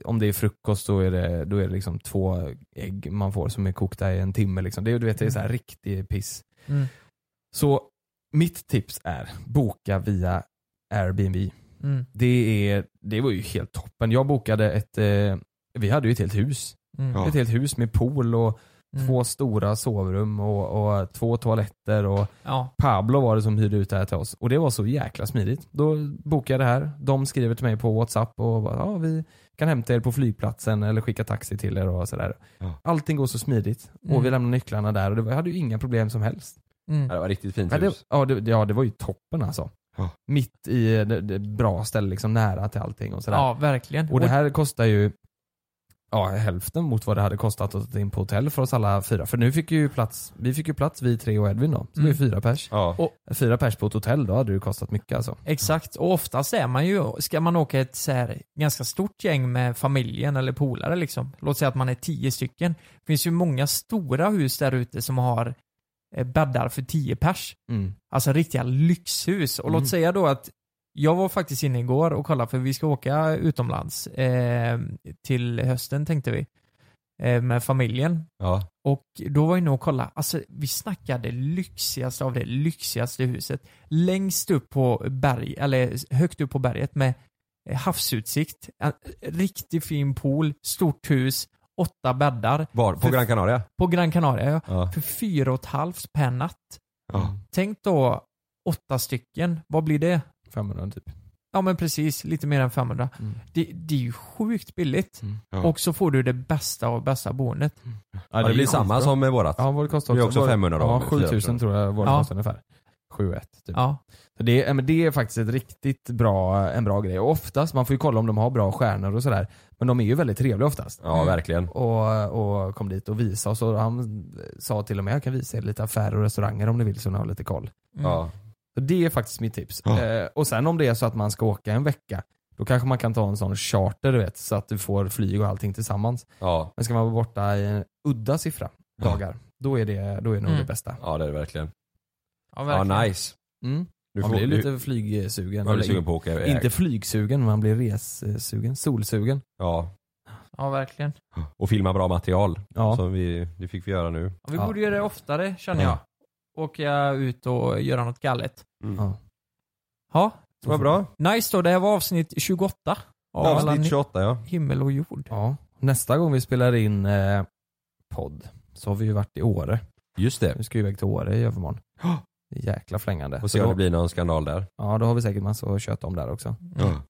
Speaker 6: om det är frukost då är det, då är det liksom två ägg man får som är kokta i en timme liksom. Det, är- du vet, det är så här riktig piss.
Speaker 5: Mm.
Speaker 6: Så mitt tips är, boka via Airbnb.
Speaker 5: Mm.
Speaker 6: Det, är, det var ju helt toppen. Jag bokade ett, eh, vi hade ju ett helt hus.
Speaker 5: Mm. Ja.
Speaker 6: Ett helt hus med pool och
Speaker 5: Mm.
Speaker 6: två stora sovrum och, och två toaletter och
Speaker 5: Ja.
Speaker 6: Pablo var det som hyrde ut det här till oss. Och det var så jäkla smidigt. Då bokade jag det här. De skriver till mig på WhatsApp och bara, ja vi kan hämta er på flygplatsen eller skicka taxi till er och sådär. Allting går så smidigt.
Speaker 11: Mm.
Speaker 6: Och vi lämnar nycklarna där och det var, jag hade ju inga problem som helst.
Speaker 5: Mm.
Speaker 11: Ja, det var riktigt fint
Speaker 6: Ja, det,
Speaker 11: hus.
Speaker 6: ja, det, ja, det var ju toppen alltså.
Speaker 11: Ja.
Speaker 6: Mitt i eh, det, det bra ställe, liksom nära till allting och sådär.
Speaker 5: Ja, verkligen.
Speaker 6: Och det här kostar ju ja, hälften mot vad det hade kostat att ta in på hotell för oss alla fyra. För nu fick ju plats, vi fick ju plats vi tre och Edvin då. Så vi är
Speaker 5: Mm.
Speaker 6: fyra pers. fyra pers på ett hotell, då hade det ju kostat mycket alltså.
Speaker 5: Exakt, och oftast är man ju, ska man åka ett så här ganska stort gäng med familjen eller polare liksom. Låt säga att man är tio stycken. Det finns ju många stora hus där ute som har eh, bäddar för tio pers.
Speaker 6: Mm.
Speaker 5: Alltså riktiga lyxhus. Och
Speaker 6: Mm.
Speaker 5: låt säga då att jag var faktiskt inne igår och kollade för vi ska åka utomlands eh, till hösten tänkte vi. Eh, med familjen.
Speaker 11: Ja.
Speaker 5: Och då var jag inne och kollade, alltså vi snackade lyxigaste av det lyxigaste huset. Längst upp på berg, eller högt upp på berget med eh, havsutsikt, en eh, riktigt fin pool, stort hus, åtta bäddar.
Speaker 11: Var? På
Speaker 5: För-
Speaker 11: Gran Canaria?
Speaker 5: På Gran Canaria ja.
Speaker 11: Ja.
Speaker 5: För fyra och ett halvt per natt. Tänk då åtta stycken, vad blir det?
Speaker 6: 500 typ.
Speaker 5: Ja men precis, lite mer än 500.
Speaker 6: Mm.
Speaker 5: Det, det är ju sjukt billigt.
Speaker 11: Ja.
Speaker 5: Och så får du det bästa av bästa boendet.
Speaker 11: Ja, det blir samma som med vårat.
Speaker 6: Ja, vårt kostar
Speaker 11: Det är också
Speaker 6: vår-
Speaker 11: 500 då.
Speaker 6: Ja, 7000 tror jag vårt
Speaker 5: Ja.
Speaker 6: kostar ungefär.
Speaker 5: 7-1. Typ.
Speaker 12: Ja.
Speaker 5: Så det, ja, men det är faktiskt ett riktigt bra, en bra grej. Och oftast, man får ju kolla om de har bra stjärnor och sådär. Men de är ju väldigt trevliga oftast.
Speaker 6: Ja, verkligen.
Speaker 5: Och, och kom dit och visa oss. Och han sa till och med, jag kan visa er lite affärer och restauranger om ni vill så ni har lite koll.
Speaker 6: Ja.
Speaker 5: Så det är faktiskt mitt tips.
Speaker 6: Ja.
Speaker 5: Eh, och sen om det är så att man ska åka en vecka, då kanske man kan ta en sån charter du vet, så att du får flyg och allting tillsammans.
Speaker 6: Ja.
Speaker 5: Men ska man vara borta i en udda siffra dagar, då är det, då är det nog det bästa.
Speaker 6: Ja det är det verkligen.
Speaker 5: Ja,
Speaker 6: verkligen. Ja, nice.
Speaker 5: Mm.
Speaker 6: Du
Speaker 5: man
Speaker 6: får-
Speaker 5: blir
Speaker 6: du-
Speaker 5: lite flygsugen.
Speaker 6: Man blir
Speaker 5: Eller
Speaker 6: sugen
Speaker 5: in-
Speaker 6: på att åka iväg.
Speaker 5: Inte flygsugen, man blir ressugen. Solsugen.
Speaker 6: Ja.
Speaker 12: Ja, verkligen.
Speaker 6: Och filma bra material.
Speaker 5: Ja.
Speaker 6: Som vi, det fick vi göra nu.
Speaker 12: Ja, vi borde göra det oftare känner jag. Åka ut och göra något galet.
Speaker 6: Mm.
Speaker 5: Ja.
Speaker 12: Ja.
Speaker 6: Det var bra.
Speaker 12: Nice då, det här var avsnitt 28. av alla
Speaker 6: Avsnitt
Speaker 12: ni-
Speaker 6: 28 ja.
Speaker 12: Himmel och jord.
Speaker 5: Ja. Nästa gång vi spelar in eh, podd så har vi ju varit i Åre.
Speaker 6: Just det.
Speaker 5: Vi ska ju iväg till Åre i övermorgon. Det är Jäkla flängande.
Speaker 6: Och se
Speaker 5: Så
Speaker 6: om
Speaker 5: då-
Speaker 6: det blir någon skandal där.
Speaker 5: Ja, då har vi säkert massa att köta om där också.
Speaker 6: Ja.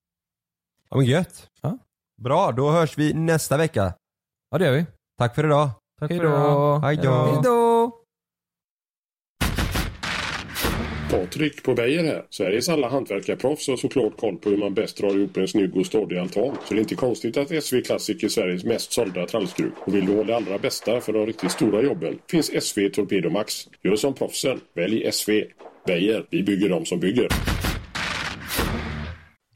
Speaker 6: Ja men gött. Bra, då hörs vi nästa vecka.
Speaker 5: Ja det gör vi.
Speaker 6: Tack för idag.
Speaker 5: Tack
Speaker 6: Hej
Speaker 5: för idag.
Speaker 6: Hej då.
Speaker 5: Hej då.
Speaker 2: Patrik på Beijer här. Sveriges alla hantverkarproffs har såklart koll på hur man bäst drar ihop en snygg och stadig altan. Så det är inte konstigt att SV Classic är Sveriges mest sålda trallskruv. Och vill du ha det allra bästa för de riktigt stora jobben finns SV Torpedo Max. Gör som proffsen. Välj SV. Beijer. Vi bygger dem som bygger.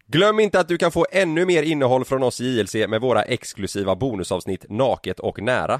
Speaker 6: Glöm inte att du kan få ännu mer innehåll från oss i JLC med våra exklusiva bonusavsnitt Naket och nära.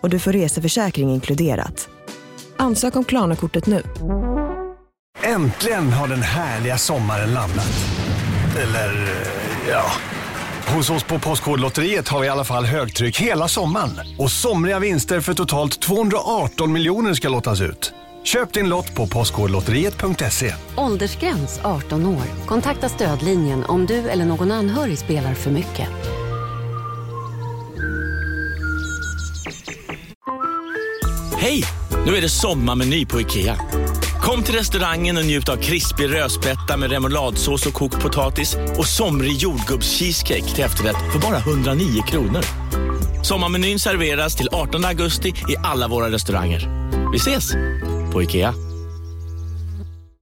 Speaker 1: och du får reseförsäkring inkluderat. Ansök om Klarna-kortet nu.
Speaker 4: Äntligen har den härliga sommaren landat. Eller, eh, ja. Hos oss på Postkodlotteriet har vi i alla fall högtryck hela sommaren. Och somriga vinster för totalt 218 miljoner ska lottas ut. Köp din lott på postkodlotteriet.se.
Speaker 10: Åldersgräns 18 år. Kontakta stödlinjen om du eller någon anhörig spelar för mycket.
Speaker 13: Hej! Nu är det sommarmeny på IKEA. Kom till restaurangen och njut av krispig rödspätta med remouladsås och kokt potatis och somrig jordgubbscheesecake till efterrätt för bara 109 kronor. Sommarmenyn serveras till 18 augusti i alla våra restauranger. Vi ses! På IKEA.